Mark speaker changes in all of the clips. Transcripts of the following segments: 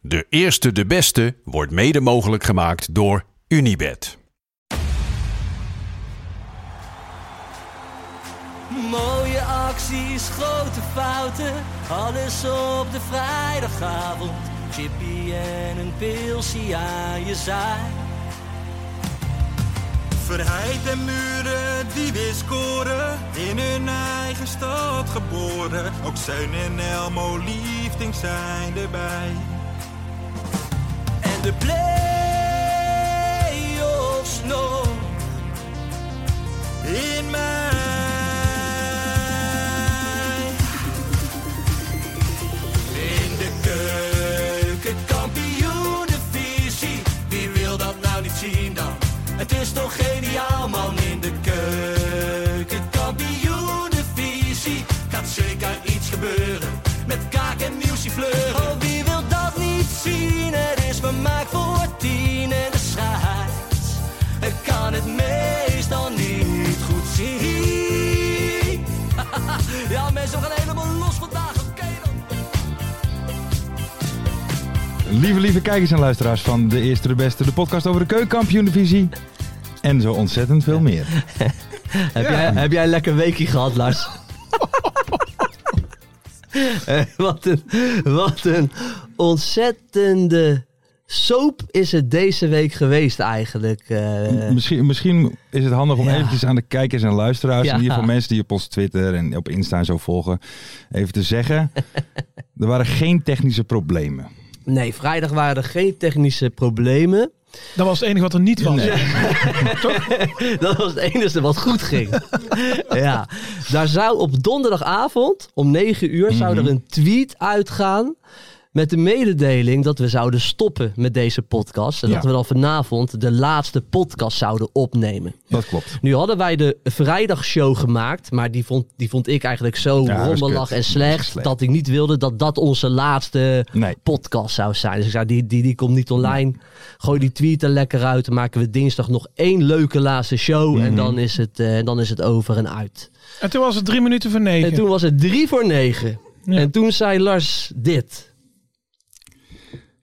Speaker 1: De eerste, de beste wordt mede mogelijk gemaakt door Unibed.
Speaker 2: Mooie acties, grote fouten, alles op de vrijdagavond. Chippy en een pilsie aan je zaai.
Speaker 3: Verheid en muren die weer scoren, in hun eigen stad geboren. Ook Zijn en Elmo liefding zijn erbij.
Speaker 2: En de play-offs nog
Speaker 3: In mij.
Speaker 2: in de keuken. Kampioenenvisie, wie wil dat nou niet zien dan? Het is toch geniaal man in de keuken. Kampioenenvisie, gaat zeker iets gebeuren. Met kaak en muziek fleuren. Oh, wie wil dat niet zien? Het is vermaakt voor tien en de scheids. Ik kan het meestal niet goed zien. Ja, mensen we gaan helemaal los vandaag. Oké dan.
Speaker 4: Lieve, lieve kijkers en luisteraars van De Eerste de Beste, de podcast over de keukenkampioen-divisie. En zo ontzettend veel meer.
Speaker 5: Heb, jij, heb jij een lekker weekje gehad, Lars? Eh, wat, een, wat een ontzettende soap is het deze week geweest eigenlijk. eh.
Speaker 4: Misschien, misschien is het handig om
Speaker 5: Ja.
Speaker 4: eventjes aan de kijkers en luisteraars,
Speaker 5: Ja.
Speaker 4: in ieder geval mensen die op ons Twitter en op Insta en zo volgen, even te zeggen. er waren geen technische problemen.
Speaker 5: nee, vrijdag waren er geen technische problemen.
Speaker 6: Dat was het enige wat er niet was.
Speaker 5: Dat was het enige wat goed ging. ja. Daar zou op donderdagavond om 9 uur zou
Speaker 4: Mhm.
Speaker 5: er een tweet uitgaan. Met de mededeling dat we zouden stoppen met deze podcast. En
Speaker 4: Ja.
Speaker 5: dat we dan vanavond de laatste podcast zouden opnemen.
Speaker 4: Dat klopt.
Speaker 5: Nu hadden wij de vrijdagshow gemaakt. Maar die vond, die vond ik eigenlijk zo
Speaker 4: Ja, dat is
Speaker 5: rommelig
Speaker 4: kut.
Speaker 5: en
Speaker 4: Dat is
Speaker 5: slecht.
Speaker 4: slecht.
Speaker 5: Dat ik niet wilde dat dat onze laatste
Speaker 4: Nee.
Speaker 5: podcast zou zijn. Dus ik zei, die, die, die komt niet online. Gooi die tweet er lekker uit. Dan maken we dinsdag nog één leuke laatste show.
Speaker 4: Mhm.
Speaker 5: En dan is, het, eh, dan is het over en uit.
Speaker 6: En toen was het drie minuten voor negen.
Speaker 5: En toen was het drie voor negen. En toen zei Lars dit.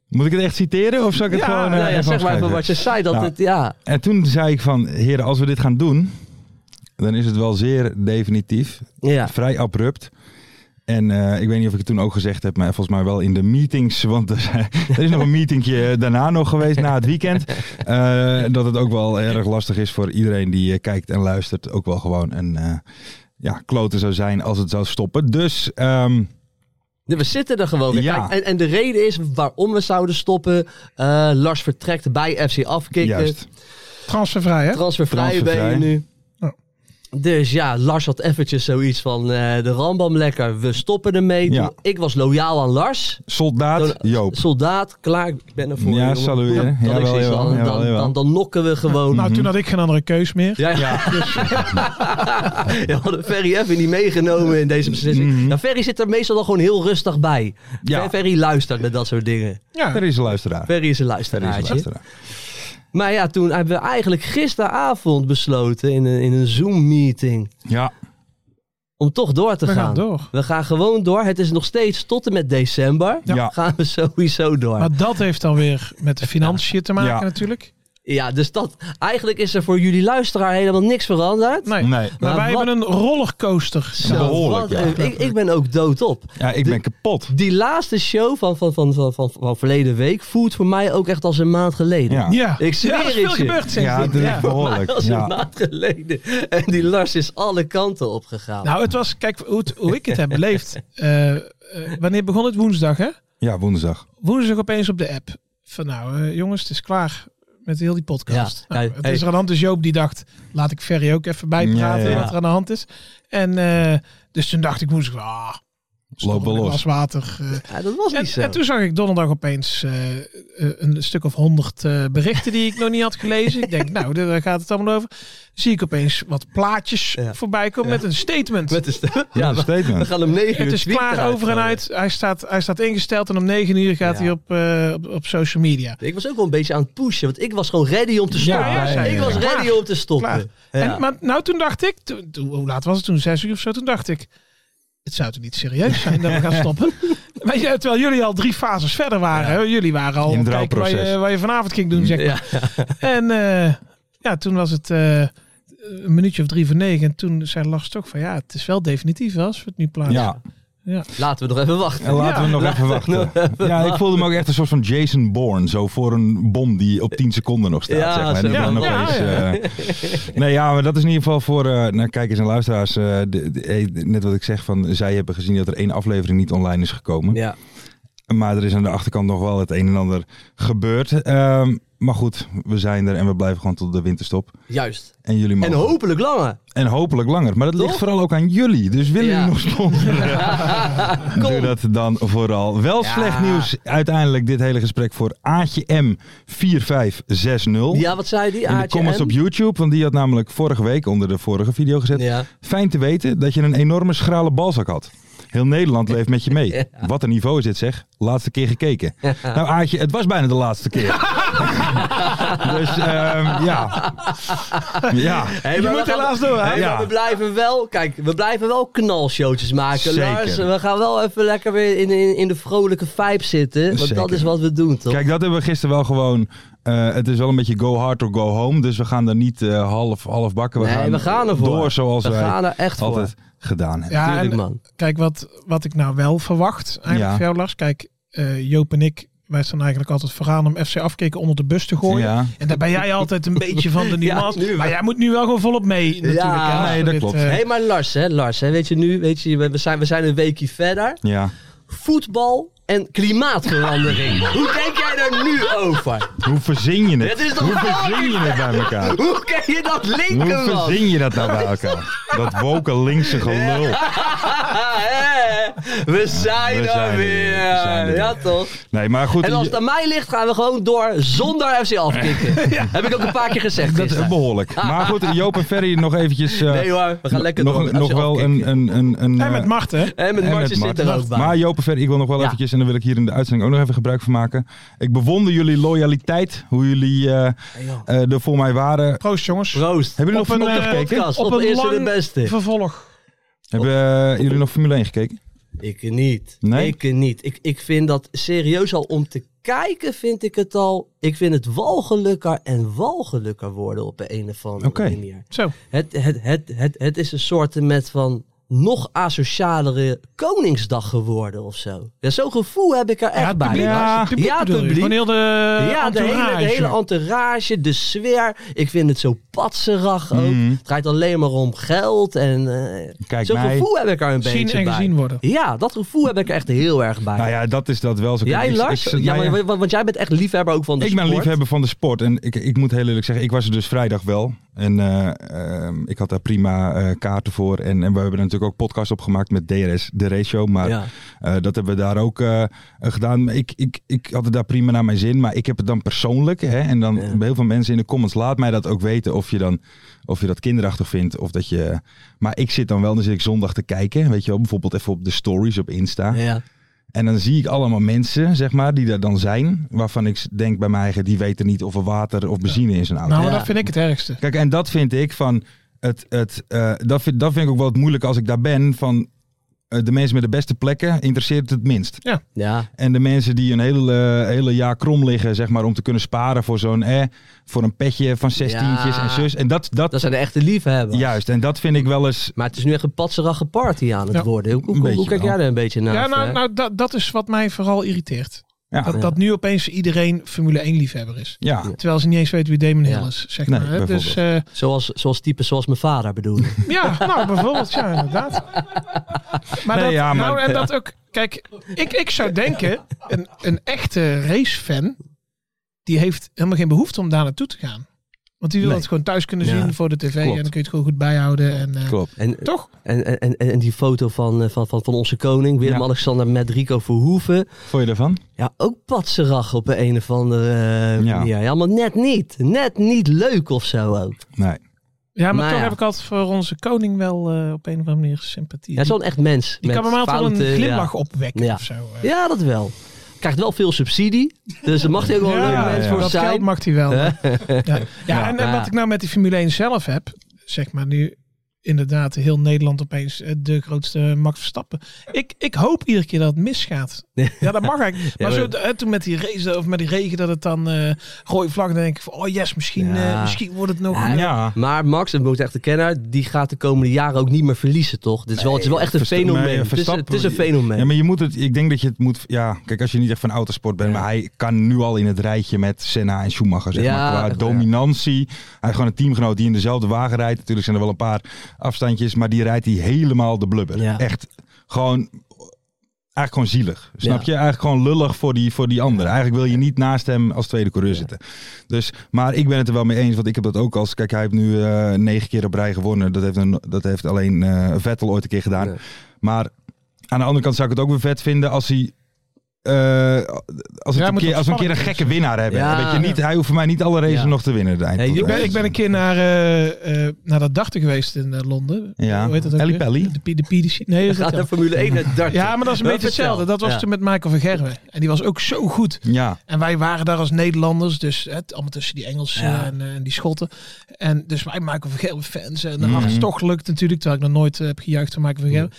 Speaker 4: Moet ik het echt citeren of zal ik het gewoon... eh,
Speaker 5: nou ja,
Speaker 4: even
Speaker 5: zeg maar even
Speaker 4: opschrijven?
Speaker 5: wat je zei. Dat
Speaker 4: Nou,
Speaker 5: het, ja.
Speaker 4: En toen zei ik van, heren, als we dit gaan doen, dan is het wel zeer definitief.
Speaker 5: Ja.
Speaker 4: Vrij abrupt. En eh, ik weet niet of ik het toen ook gezegd heb, maar volgens mij wel in de meetings. Want er, zijn- er is nog een meetingje daarna nog geweest, na het weekend. eh, dat het ook wel erg lastig is voor iedereen die eh, kijkt en luistert. Ook wel gewoon een eh, ja, klote zou zijn als het zou stoppen. Dus ehm,
Speaker 5: We zitten er gewoon weer.
Speaker 4: Ja.
Speaker 5: Kijk, en, en de reden is waarom we zouden stoppen. Eh, Lars vertrekt bij FC Afkikken.
Speaker 4: juist.
Speaker 6: Transfervrij, hè?
Speaker 5: eh, Transfervrij ben je
Speaker 4: Transfervrij.
Speaker 5: nu.
Speaker 6: Ja.
Speaker 5: Dus ja, Lars had eventjes zoiets van eh, de Rambam lekker, we stoppen ermee.
Speaker 4: Ja.
Speaker 5: Toen- Ik was loyaal aan Lars.
Speaker 4: Soldaat
Speaker 5: Toen-
Speaker 4: Joop.
Speaker 5: Soldaat, klaar, ik ben er voor.
Speaker 4: Ja,
Speaker 5: jongen.
Speaker 4: salueren.
Speaker 5: Dan- Dan,
Speaker 4: Jawel,
Speaker 5: ik zoiets
Speaker 4: jawel,
Speaker 5: van,
Speaker 4: jawel,
Speaker 5: dan,
Speaker 4: jawel.
Speaker 5: dan, dan nokken we gewoon.
Speaker 6: Nou, toen had ik geen andere keus meer.
Speaker 5: Ja, ja. Je had Ferry even niet meegenomen in deze beslissing. Nou, Ferry zit er meestal dan gewoon heel rustig bij.
Speaker 4: Mhm. Ja.
Speaker 5: Ferry luistert naar dat soort dingen.
Speaker 6: Ja.
Speaker 4: Er is een luisteraar.
Speaker 5: Ferry is een
Speaker 4: Er is een
Speaker 5: luisteraartje.
Speaker 4: luisteraar.
Speaker 5: Maar ja, toen hebben we eigenlijk gisteravond besloten in een, in een Zoom-meeting
Speaker 4: Ja.
Speaker 5: om toch door te
Speaker 6: We
Speaker 5: gaan.
Speaker 6: gaan door.
Speaker 5: We gaan gewoon door. Het is nog steeds tot en met december.
Speaker 4: Ja. Ja.
Speaker 5: Gaan we sowieso door.
Speaker 6: Maar dat heeft dan weer met de financiën te maken
Speaker 4: Ja.
Speaker 6: natuurlijk.
Speaker 5: Ja, dus dat, eigenlijk is er voor jullie luisteraar helemaal niks veranderd.
Speaker 6: Nee.
Speaker 4: Nee.
Speaker 6: Maar,
Speaker 5: Maar
Speaker 6: wij
Speaker 5: wat-
Speaker 6: hebben een rollercoaster.
Speaker 5: Zo,
Speaker 4: behoorlijk,
Speaker 5: wat
Speaker 4: ja.
Speaker 5: een- ik, ik ben ook doodop.
Speaker 4: Ja, ik ben kapot.
Speaker 5: Die laatste show van, van, van, van, van, van verleden week voelt voor mij ook echt als een maand geleden.
Speaker 4: Ja.
Speaker 6: Ja.
Speaker 5: Ik zweer
Speaker 6: ja, er is veel
Speaker 5: het je.
Speaker 6: gebeurd sinds
Speaker 4: Ja,
Speaker 6: dit.
Speaker 4: dat
Speaker 6: Ja.
Speaker 4: is behoorlijk.
Speaker 5: Als een
Speaker 4: Ja.
Speaker 5: maand geleden. En die Lars is alle kanten opgegaan.
Speaker 6: Nou, het was, kijk hoe, het- hoe ik het heb beleefd. Eh, eh, wanneer begon het? Woensdag, hè?
Speaker 4: ja, woensdag.
Speaker 6: Woensdag opeens op de app. Van nou, eh, jongens, het is klaar met heel die podcast.
Speaker 5: Ja.
Speaker 6: Nou,
Speaker 5: Hey,
Speaker 6: het
Speaker 5: hey.
Speaker 6: is er aan de hand. Dus Joop die dacht, laat ik Ferry ook even bijpraten
Speaker 4: Ja, ja, ja.
Speaker 6: wat er aan de hand is. En eh, dus toen dacht ik woensdag, ah,
Speaker 4: Loop wel
Speaker 6: Als
Speaker 4: los.
Speaker 6: water. eh.
Speaker 5: Ja, dat was niet
Speaker 6: En,
Speaker 5: zo.
Speaker 6: en toen zag ik donderdag opeens eh, eh, een stuk of honderd eh, berichten die ik nog niet had gelezen. Ik denk, nou, daar gaat het allemaal over. Zie ik opeens wat plaatjes
Speaker 5: Ja.
Speaker 6: voorbij komen met een statement.
Speaker 5: Met de stem. Ja,
Speaker 4: een
Speaker 5: we,
Speaker 4: statement.
Speaker 5: we gaan om negen uur
Speaker 6: het is
Speaker 5: tweet
Speaker 6: klaar
Speaker 5: eruit
Speaker 6: over en
Speaker 5: gooien.
Speaker 6: uit. Hij staat, hij staat ingesteld en om negen uur gaat
Speaker 5: Ja.
Speaker 6: hij op, eh, op, op social media.
Speaker 5: Ik was ook wel een beetje aan het pushen, want ik was gewoon ready om te
Speaker 4: Ja,
Speaker 5: stoppen.
Speaker 4: ja, ja,
Speaker 5: Ik
Speaker 4: ja.
Speaker 5: was
Speaker 6: Klaar.
Speaker 5: ready om te stoppen. Ja.
Speaker 6: En, maar nou, toen dacht ik, toen, toen- hoe laat was het toen? Zes uur of zo? Toen dacht ik, het zou toch niet serieus zijn dat we gaan stoppen? maar, ja, terwijl jullie al drie fases verder waren. hè. Jullie waren al
Speaker 4: In het
Speaker 6: kijken waar je,
Speaker 4: rouwproces.
Speaker 6: waar je vanavond ging doen, zeg maar.
Speaker 5: Ja.
Speaker 6: En eh, ja, toen was het eh, een minuutje of drie voor negen. En toen zei Lars toch van, ja, het is wel definitief hè, als we het nu plaatsen.
Speaker 4: Ja,
Speaker 5: Laten we nog even wachten.
Speaker 4: en laten we nog
Speaker 5: laten
Speaker 4: even
Speaker 5: we
Speaker 4: wachten.
Speaker 5: nog even
Speaker 4: ja, ik voelde me ook echt een soort van Jason Bourne. Zo voor een bom die op 10 seconden nog staat.
Speaker 5: Ja,
Speaker 4: zeg maar.
Speaker 5: zo.
Speaker 4: Die dan
Speaker 5: Ja,
Speaker 6: ja,
Speaker 4: opeens, eh, nee, ja, maar dat is in ieder geval voor eh nou, kijkers en luisteraars. eh, de- de- eh, net wat ik zeg, van, zij hebben gezien dat er één aflevering niet online is gekomen.
Speaker 5: Ja.
Speaker 4: Maar er is aan de achterkant nog wel het een en ander gebeurd. Ehm, maar goed, we zijn er en we blijven gewoon tot de winterstop.
Speaker 5: Juist.
Speaker 4: En jullie
Speaker 5: En
Speaker 4: mogen.
Speaker 5: hopelijk langer.
Speaker 4: En hopelijk langer. Maar dat ligt
Speaker 5: Toch?
Speaker 4: vooral ook aan jullie. Dus willen
Speaker 5: Ja.
Speaker 4: jullie nog sponsoren? Doe dat dan vooral. Wel
Speaker 5: Ja.
Speaker 4: slecht nieuws. Uiteindelijk dit hele gesprek voor Aatje M4560.
Speaker 5: Ja, wat zei die?
Speaker 4: In de
Speaker 5: Aartje
Speaker 4: comments
Speaker 5: M?
Speaker 4: op YouTube, want die had namelijk vorige week onder de vorige video gezet.
Speaker 5: Ja.
Speaker 4: Fijn te weten dat je een enorme schrale balzak had. Heel Nederland leeft met je mee. Wat een niveau is dit zeg. Laatste keer gekeken. Nou Aartje, het was bijna de laatste keer. dus ehm, ja. Ja.
Speaker 5: Hey, maar we gaan-
Speaker 4: door
Speaker 5: Hey, maar We blijven wel, kijk, we blijven wel knalshowtjes maken.
Speaker 4: Zeker.
Speaker 5: Lars, we gaan wel even lekker weer in, in, in de vrolijke vibe zitten. Want dat
Speaker 4: Zeker.
Speaker 5: is wat we doen, toch?
Speaker 4: Kijk, dat hebben we gisteren wel gewoon. eh, het is wel een beetje go hard or go home. Dus we gaan er niet eh, half, half bakken. We
Speaker 5: nee,
Speaker 4: gaan
Speaker 5: we gaan ervoor.
Speaker 4: door zoals
Speaker 5: we
Speaker 4: wij
Speaker 5: gaan er echt voor.
Speaker 4: altijd gedaan hebben.
Speaker 6: Ja,
Speaker 5: Tuurlijk,
Speaker 6: en-
Speaker 5: man.
Speaker 6: Kijk, wat, wat ik nou wel verwacht eigenlijk
Speaker 4: Ja.
Speaker 6: van jou, Lars. Kijk, eh, Joop en ik, wij staan eigenlijk altijd vooraan om FC afkeken onder de bus te gooien.
Speaker 4: Ja.
Speaker 6: En daar ben jij altijd een beetje van de nuance.
Speaker 5: nu wel.
Speaker 6: maar jij moet nu wel gewoon volop mee natuurlijk.
Speaker 5: Ja,
Speaker 6: hè,
Speaker 4: nee,
Speaker 6: voor
Speaker 4: dat
Speaker 6: dit,
Speaker 4: klopt.
Speaker 6: eh,
Speaker 5: Hé, hey, maar Lars, hè, Lars, hè, weet je nu, weet je, we we zijn, we zijn een weekje verder.
Speaker 4: Ja.
Speaker 5: Voetbal en klimaatverandering. Hoe denk jij daar nu over?
Speaker 4: Hoe verzin je het?
Speaker 5: Het is toch
Speaker 4: Hoe
Speaker 5: wel
Speaker 4: verzin je het bij elkaar?
Speaker 5: Hoe kan je dat
Speaker 4: Hoe
Speaker 5: linken, man?
Speaker 4: verzin je dat nou bij elkaar? Dat woken linkse gelul.
Speaker 5: Hè? we zijn
Speaker 4: We zijn
Speaker 5: er
Speaker 4: er
Speaker 5: weer.
Speaker 4: weer, we zijn er
Speaker 5: ja,
Speaker 4: weer.
Speaker 5: toch?
Speaker 4: Nee, maar goed.
Speaker 5: En als het aan mij ligt, gaan we gewoon door zonder FC afkicken. Heb ik ook een paar keer gezegd.
Speaker 4: dat is
Speaker 5: gisteren.
Speaker 4: behoorlijk. Maar goed, Joop en Ferry nog eventjes. eh,
Speaker 5: Nee hoor, we gaan lekker
Speaker 4: nog,
Speaker 5: door.
Speaker 4: Nog wel een. een, een, een
Speaker 6: En met
Speaker 4: eh,
Speaker 6: Marten. hè?
Speaker 5: En met
Speaker 4: En
Speaker 5: Martje
Speaker 4: met
Speaker 5: zit er
Speaker 4: Mart.
Speaker 5: ook bij.
Speaker 4: Maar Joop en Ver, ik wil nog wel
Speaker 5: Ja.
Speaker 4: eventjes, en dan wil ik hier in de uitzending ook nog even gebruik van maken. Ik bewonder jullie loyaliteit, hoe jullie eh, eh, er voor mij waren.
Speaker 6: Proost jongens.
Speaker 5: Proost.
Speaker 4: Hebben jullie
Speaker 6: Op
Speaker 4: nog
Speaker 6: een,
Speaker 4: Formule 1
Speaker 6: eh,
Speaker 4: gekeken?
Speaker 5: podcast. Op eerste de beste.
Speaker 6: vervolg.
Speaker 4: Hebben eh, jullie nog Formule 1 gekeken?
Speaker 5: Ik niet.
Speaker 4: Nee?
Speaker 5: Ik niet. Ik, ik vind dat serieus al om te kijken, vind ik het al. Ik vind het walgelijker en walgelijker worden op de een of andere
Speaker 4: Oké.
Speaker 5: manier.
Speaker 6: Zo.
Speaker 5: Het, het, het, het, het is een soort met van nog asocialere Koningsdag geworden of zo. Ja, Zo'n gevoel heb ik er echt
Speaker 6: het
Speaker 5: bij.
Speaker 6: publiek.
Speaker 4: Ja.
Speaker 6: Het publiek
Speaker 5: Ja, het
Speaker 6: bedoel je.
Speaker 5: publiek.
Speaker 6: Gewoon heel de
Speaker 5: Ja, de hele,
Speaker 6: entourage.
Speaker 5: de hele entourage, de sfeer. Ik vind het zo patserig ook. Het draait alleen maar om geld. En, eh,
Speaker 4: Hmm. Mm, Kijk
Speaker 5: Zo'n
Speaker 4: mij.
Speaker 5: gevoel heb ik er een
Speaker 6: Zien
Speaker 5: beetje
Speaker 6: en
Speaker 5: bij.
Speaker 6: gezien worden.
Speaker 5: Ja, dat gevoel heb ik er echt heel erg bij.
Speaker 4: Nou ja, dat is dat wel zo.
Speaker 5: Jij
Speaker 4: Ik- ik-
Speaker 5: Lars?
Speaker 4: ik-
Speaker 5: ja,
Speaker 4: nou ja,
Speaker 5: maar, want, want jij bent echt liefhebber ook van de
Speaker 4: ik
Speaker 5: sport.
Speaker 4: ben liefhebber van de sport en ik, ik moet heel eerlijk zeggen, ik was er dus vrijdag wel. En eh, ehm, ik had daar prima eh, kaarten voor. En, en we hebben er natuurlijk ook podcast opgemaakt met DRS, de race show. Maar
Speaker 5: Ja.
Speaker 4: Eh, dat hebben we daar ook eh, eh, gedaan. Maar Ik, ik, ik had het daar prima naar mijn zin, maar ik heb het dan persoonlijk. Hè, en dan
Speaker 5: Ja.
Speaker 4: heel veel mensen in de comments, laat mij dat ook weten of je, dan, of je dat kinderachtig vindt. Of dat je, maar ik zit dan wel, dan zit ik zondag te kijken. Weet je wel, bijvoorbeeld even op de stories op Insta.
Speaker 5: Ja.
Speaker 4: En dan zie ik allemaal mensen, zeg maar, die daar dan zijn. Waarvan ik denk bij mij eigen, die weten niet of er water of benzine in zijn auto
Speaker 6: Nou, maar
Speaker 5: Ja.
Speaker 6: dat vind ik het ergste.
Speaker 4: Kijk, en dat vind ik van. Het, het, eh, dat, vind, dat vind ik ook wel het moeilijke als ik daar ben. Van eh, de mensen met de beste plekken interesseert het het minst.
Speaker 5: Ja.
Speaker 4: En de mensen die een hele, eh, hele jaar krom liggen, zeg maar, om te kunnen sparen voor zo'n eh, voor een petje van zestientjes
Speaker 5: Ja.
Speaker 4: en zus. En dat, dat,
Speaker 5: Dat zijn de echte liefhebbers.
Speaker 4: juist, en dat vind ik wel eens.
Speaker 5: Maar het is nu echt een patserige party aan het
Speaker 6: Ja.
Speaker 5: worden. Hoe, hoe,
Speaker 4: Een
Speaker 5: hoe
Speaker 4: beetje
Speaker 5: kijk
Speaker 4: wel.
Speaker 5: jij daar een beetje naar?
Speaker 6: Ja, nou,
Speaker 5: Fer?
Speaker 6: nou dat, dat is wat mij vooral irriteert.
Speaker 4: Ja,
Speaker 6: Dat, dat nu opeens iedereen Formule 1 liefhebber is.
Speaker 4: ja.
Speaker 6: Terwijl ze niet eens weten wie Damon
Speaker 5: Ja.
Speaker 6: Hill is, zeg
Speaker 4: Nee,
Speaker 6: maar. hè. Dus
Speaker 5: Zoals, zoals types zoals mijn vader bedoel ik.
Speaker 6: eh, ja, nou bijvoorbeeld, ja, inderdaad. Maar,
Speaker 4: Nee,
Speaker 6: dat,
Speaker 4: ja, maar-
Speaker 6: nou, en dat ook, kijk, ik, ik zou denken, een, een echte racefan, die heeft helemaal geen behoefte om daar naartoe te gaan. Want die wil
Speaker 4: Nee.
Speaker 6: het gewoon thuis kunnen
Speaker 5: Ja.
Speaker 6: zien voor de tv.
Speaker 4: Klopt.
Speaker 6: En dan kun je het gewoon goed bijhouden. En, eh,
Speaker 4: Klopt.
Speaker 5: En,
Speaker 6: Toch?
Speaker 5: en, en, en, en die foto van, eh, van, van, van onze koning, Willem-Alexander met Rico Verhoeven.
Speaker 4: eh, Vond je daarvan?
Speaker 5: Ja, ook patserag op de een of andere eh,
Speaker 4: Ja.
Speaker 5: manier. Ja, maar net niet. Net niet leuk of zo ook.
Speaker 4: Nee.
Speaker 6: Ja, maar
Speaker 5: Nou
Speaker 6: toch
Speaker 5: ja.
Speaker 6: heb ik altijd voor onze koning wel eh, op een of andere manier sympathie.
Speaker 5: Hij is wel een echt mens.
Speaker 6: die
Speaker 5: met
Speaker 6: kan bij mij altijd wel
Speaker 5: fouten,
Speaker 6: een
Speaker 5: ja.
Speaker 6: glimlach opwekken
Speaker 5: Ja.
Speaker 6: of zo. eh.
Speaker 5: Ja, dat wel. Krijgt wel veel subsidie. Dus daar mag hij ook wel een
Speaker 6: Ja,
Speaker 5: leuk mens
Speaker 4: ja.
Speaker 5: voor
Speaker 6: dat
Speaker 5: zijn.
Speaker 6: geld mag hij wel. ja, ja. en, en
Speaker 5: Ja.
Speaker 6: wat ik nou met die Formule 1 zelf heb, zeg maar nu inderdaad heel Nederland opeens eh, de grootste Max Verstappen. Ik, ik hoop iedere keer dat het misgaat. Ja, dat mag eigenlijk. Maar
Speaker 5: Ja,
Speaker 6: zo,
Speaker 5: maar-
Speaker 6: eh, toen met die race of met die regen dat het dan eh rode vlag, dan denk ik van oh yes, misschien,
Speaker 5: Ja.
Speaker 6: eh, misschien wordt het nog...
Speaker 5: Ja,
Speaker 6: een-
Speaker 4: Ja.
Speaker 5: Maar Max, dat moet ik echt erkennen, die gaat de komende jaren ook niet meer verliezen, toch? Dit is wel, het is wel echt een
Speaker 4: Versta- maar, eh,
Speaker 5: fenomeen. Het is,
Speaker 4: Verstappen-
Speaker 5: het is een fenomeen.
Speaker 4: Ja, maar je moet het, ik denk dat je het moet, ja, kijk, als je niet echt van autosport bent, maar hij kan nu al in het rijtje met Senna en Schumacher, zeg
Speaker 5: Ja,
Speaker 4: maar, qua
Speaker 5: echt,
Speaker 4: dominantie. Hij is gewoon een teamgenoot die in dezelfde wagen rijdt. Natuurlijk zijn er wel een paar afstandjes, maar die rijdt hij helemaal de blubber.
Speaker 5: Ja.
Speaker 4: Echt gewoon, eigenlijk gewoon zielig, snap
Speaker 5: Ja.
Speaker 4: je? Eigenlijk gewoon lullig voor die, voor die anderen. Eigenlijk wil je niet naast hem als tweede coureur zitten. Dus, maar ik ben het er wel mee eens, want ik heb dat ook als, kijk, hij heeft nu eh, negen keer op rij gewonnen. Dat heeft, een, dat heeft alleen eh, Vettel ooit een keer gedaan.
Speaker 5: Nee.
Speaker 4: Maar aan de andere kant zou ik het ook weer vet vinden als hij. eh, als, het
Speaker 6: Ja,
Speaker 4: een
Speaker 6: moet
Speaker 4: keer,
Speaker 6: toch
Speaker 4: als we een keer een
Speaker 6: spannend
Speaker 4: gekke winnaar hebben.
Speaker 5: Ja.
Speaker 4: Weet je, niet, hij hoeft voor mij niet alle races
Speaker 5: Ja.
Speaker 4: nog te winnen. De
Speaker 5: Nee,
Speaker 6: Ik ben, ik ben een keer naar, eh, eh, naar dat darten geweest in eh, Londen.
Speaker 4: Ja.
Speaker 6: Hoe heet dat ook
Speaker 4: Ellie
Speaker 6: weer?
Speaker 4: Pelly?
Speaker 6: De, P- de, PDC. Nee, dat is
Speaker 5: gaat
Speaker 6: dat
Speaker 5: naar Formule 1 en darten.
Speaker 6: Ja, maar dat is een beetje
Speaker 5: vertel.
Speaker 6: hetzelfde. Dat was
Speaker 5: Ja.
Speaker 6: toen met Michael van Gerwen. En die was ook zo goed.
Speaker 4: Ja,
Speaker 6: En wij waren daar als Nederlanders, dus het, allemaal tussen die Engelsen
Speaker 5: Ja.
Speaker 6: en, eh, en die Schotten. En dus wij Michael van Gerwen fans. En hartstochtelijk natuurlijk, terwijl ik nog nooit eh, heb gejuicht van Michael van Gerwen.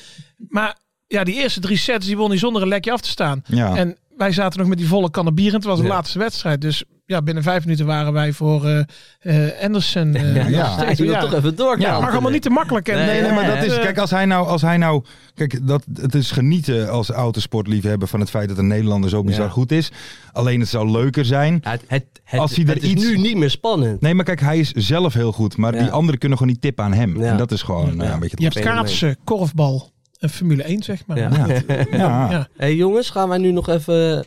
Speaker 6: Maar ja, die eerste drie sets, die won hij zonder een lekje af te staan.
Speaker 4: ja.
Speaker 6: En wij zaten nog met die volle kannen bier en het was de
Speaker 5: Ja.
Speaker 6: laatste wedstrijd. Dus ja, binnen vijf minuten waren wij voor eh eh, Anderson. eh, nog
Speaker 4: Ja.
Speaker 5: Hij
Speaker 6: steeds.
Speaker 5: wil
Speaker 6: Ja.
Speaker 5: toch even doorgaan.
Speaker 4: Ja,
Speaker 6: Mag allemaal niet te makkelijk. En,
Speaker 5: Nee,
Speaker 4: Nee, nee, maar dat
Speaker 5: hè?
Speaker 4: is. Kijk, als hij nou. Als hij nou kijk, dat, het is genieten als autosportliefhebber van het feit dat een Nederlander zo bizar
Speaker 5: Ja.
Speaker 4: goed is. Alleen het zou leuker zijn.
Speaker 5: Ja, Het, het, het,
Speaker 4: Als hij
Speaker 5: het
Speaker 4: er
Speaker 5: is
Speaker 4: iets-
Speaker 5: nu niet meer spannend.
Speaker 4: Nee, maar kijk, hij is zelf heel goed. Maar
Speaker 5: Ja.
Speaker 4: die anderen kunnen gewoon niet tippen aan hem.
Speaker 5: Ja.
Speaker 4: En dat is gewoon eh, een beetje.
Speaker 6: Je
Speaker 4: het
Speaker 6: hebt kaatsen, korfbal en Formule 1, zeg maar.
Speaker 5: Ja.
Speaker 4: lastige. Ja.
Speaker 6: Ja.
Speaker 5: Hé jongens, gaan wij nu nog even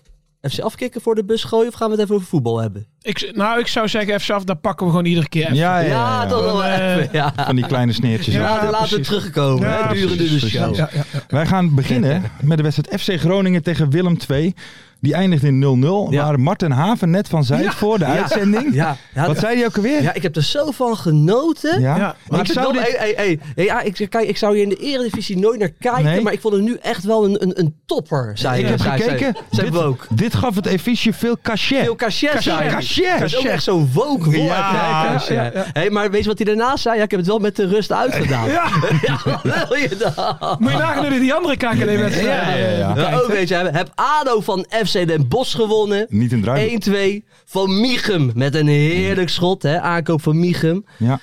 Speaker 5: FC afkicken voor de bus gooien of gaan we het even over voetbal hebben?
Speaker 6: Ik, nou, ik zou zeggen, even af, dan pakken we gewoon iedere keer.
Speaker 4: Ja,
Speaker 6: even.
Speaker 4: ja, ja, ja.
Speaker 5: toch wel
Speaker 6: Eh,
Speaker 5: even. Ja.
Speaker 4: Van die kleine sneertjes.
Speaker 6: Ja,
Speaker 4: ook.
Speaker 5: Laten- Laten we
Speaker 6: precies.
Speaker 5: terugkomen
Speaker 6: Ja,
Speaker 5: hè, durende de
Speaker 4: precies,
Speaker 5: show.
Speaker 4: precies.
Speaker 6: Ja, ja, ja.
Speaker 4: Wij gaan beginnen met de wedstrijd FC Groningen tegen Willem II. Die eindigt in 0-0.
Speaker 5: Ja.
Speaker 4: Waar Martin Haven net van zei voor de uitzending.
Speaker 5: Ja, ja,
Speaker 4: Wat zei hij ook alweer?
Speaker 5: ja, ik heb er zo van genoten.
Speaker 4: Ja.
Speaker 6: Ja.
Speaker 4: Maar ik
Speaker 5: ik,
Speaker 4: zou
Speaker 5: wil-
Speaker 4: dit...
Speaker 5: hey, hey, hey. Hey, ja, ik, kijk, ik zou hier in de eredivisie nooit naar kijken,
Speaker 4: Nee.
Speaker 5: maar ik vond het nu echt wel een, een, een topper. Zei,
Speaker 4: Ik heb
Speaker 5: zei- zei-
Speaker 4: gekeken.
Speaker 5: Zei,
Speaker 4: dit,
Speaker 5: woke.
Speaker 4: dit gaf het efficiënt veel cachet.
Speaker 5: Veel cachet zei hij.
Speaker 4: cachet.
Speaker 5: Dat is ook echt zo'n woke woord.
Speaker 4: Ja,
Speaker 5: hè,
Speaker 4: ja,
Speaker 5: cachet. Hey, maar weet je wat hij daarna zei? Ja, ik heb het wel met de rust uitgedaan. Ja, wat wil je dan?
Speaker 6: Moet je nagaan hoe die- die andere KKD-wedstrijd
Speaker 4: Ja, ja, ja.
Speaker 5: Ja, ook weet je, heb, heb ADO van FC Den Bosch gewonnen.
Speaker 4: Niet in druim.
Speaker 5: 1-2 van Michum. Met een heerlijk schot, hè? aankoop van Michum.
Speaker 4: Ja.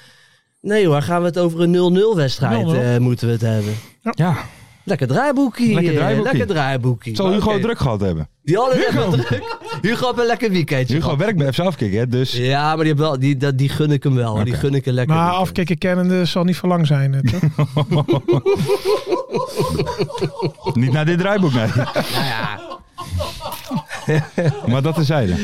Speaker 5: Nee hoor, gaan we het over een 0-0 wedstrijd
Speaker 6: 0-0.
Speaker 5: eh, moeten we het hebben.
Speaker 4: ja.
Speaker 5: Lekker draaiboekje.
Speaker 4: Lekker
Speaker 5: eh,
Speaker 4: draaiboekje.
Speaker 5: Lekker draaiboekje.
Speaker 4: Zal Hugo
Speaker 5: Oké.
Speaker 4: het druk gehad hebben?
Speaker 5: Die hadden Hugo. druk. Hugo heeft een lekker weekendje.
Speaker 4: Hugo
Speaker 5: gehad.
Speaker 4: werkt bij FC Afkikken, hè? Dus
Speaker 5: Ja, maar die, heb wel, die, dat- die gun ik hem wel. Die
Speaker 4: Oké.
Speaker 5: gun ik hem lekker.
Speaker 6: Maar
Speaker 5: weekend.
Speaker 6: afkikken kennende zal niet voor lang zijn. eh, toch?
Speaker 4: niet naar dit draaiboek, nee. maar dat terzijde.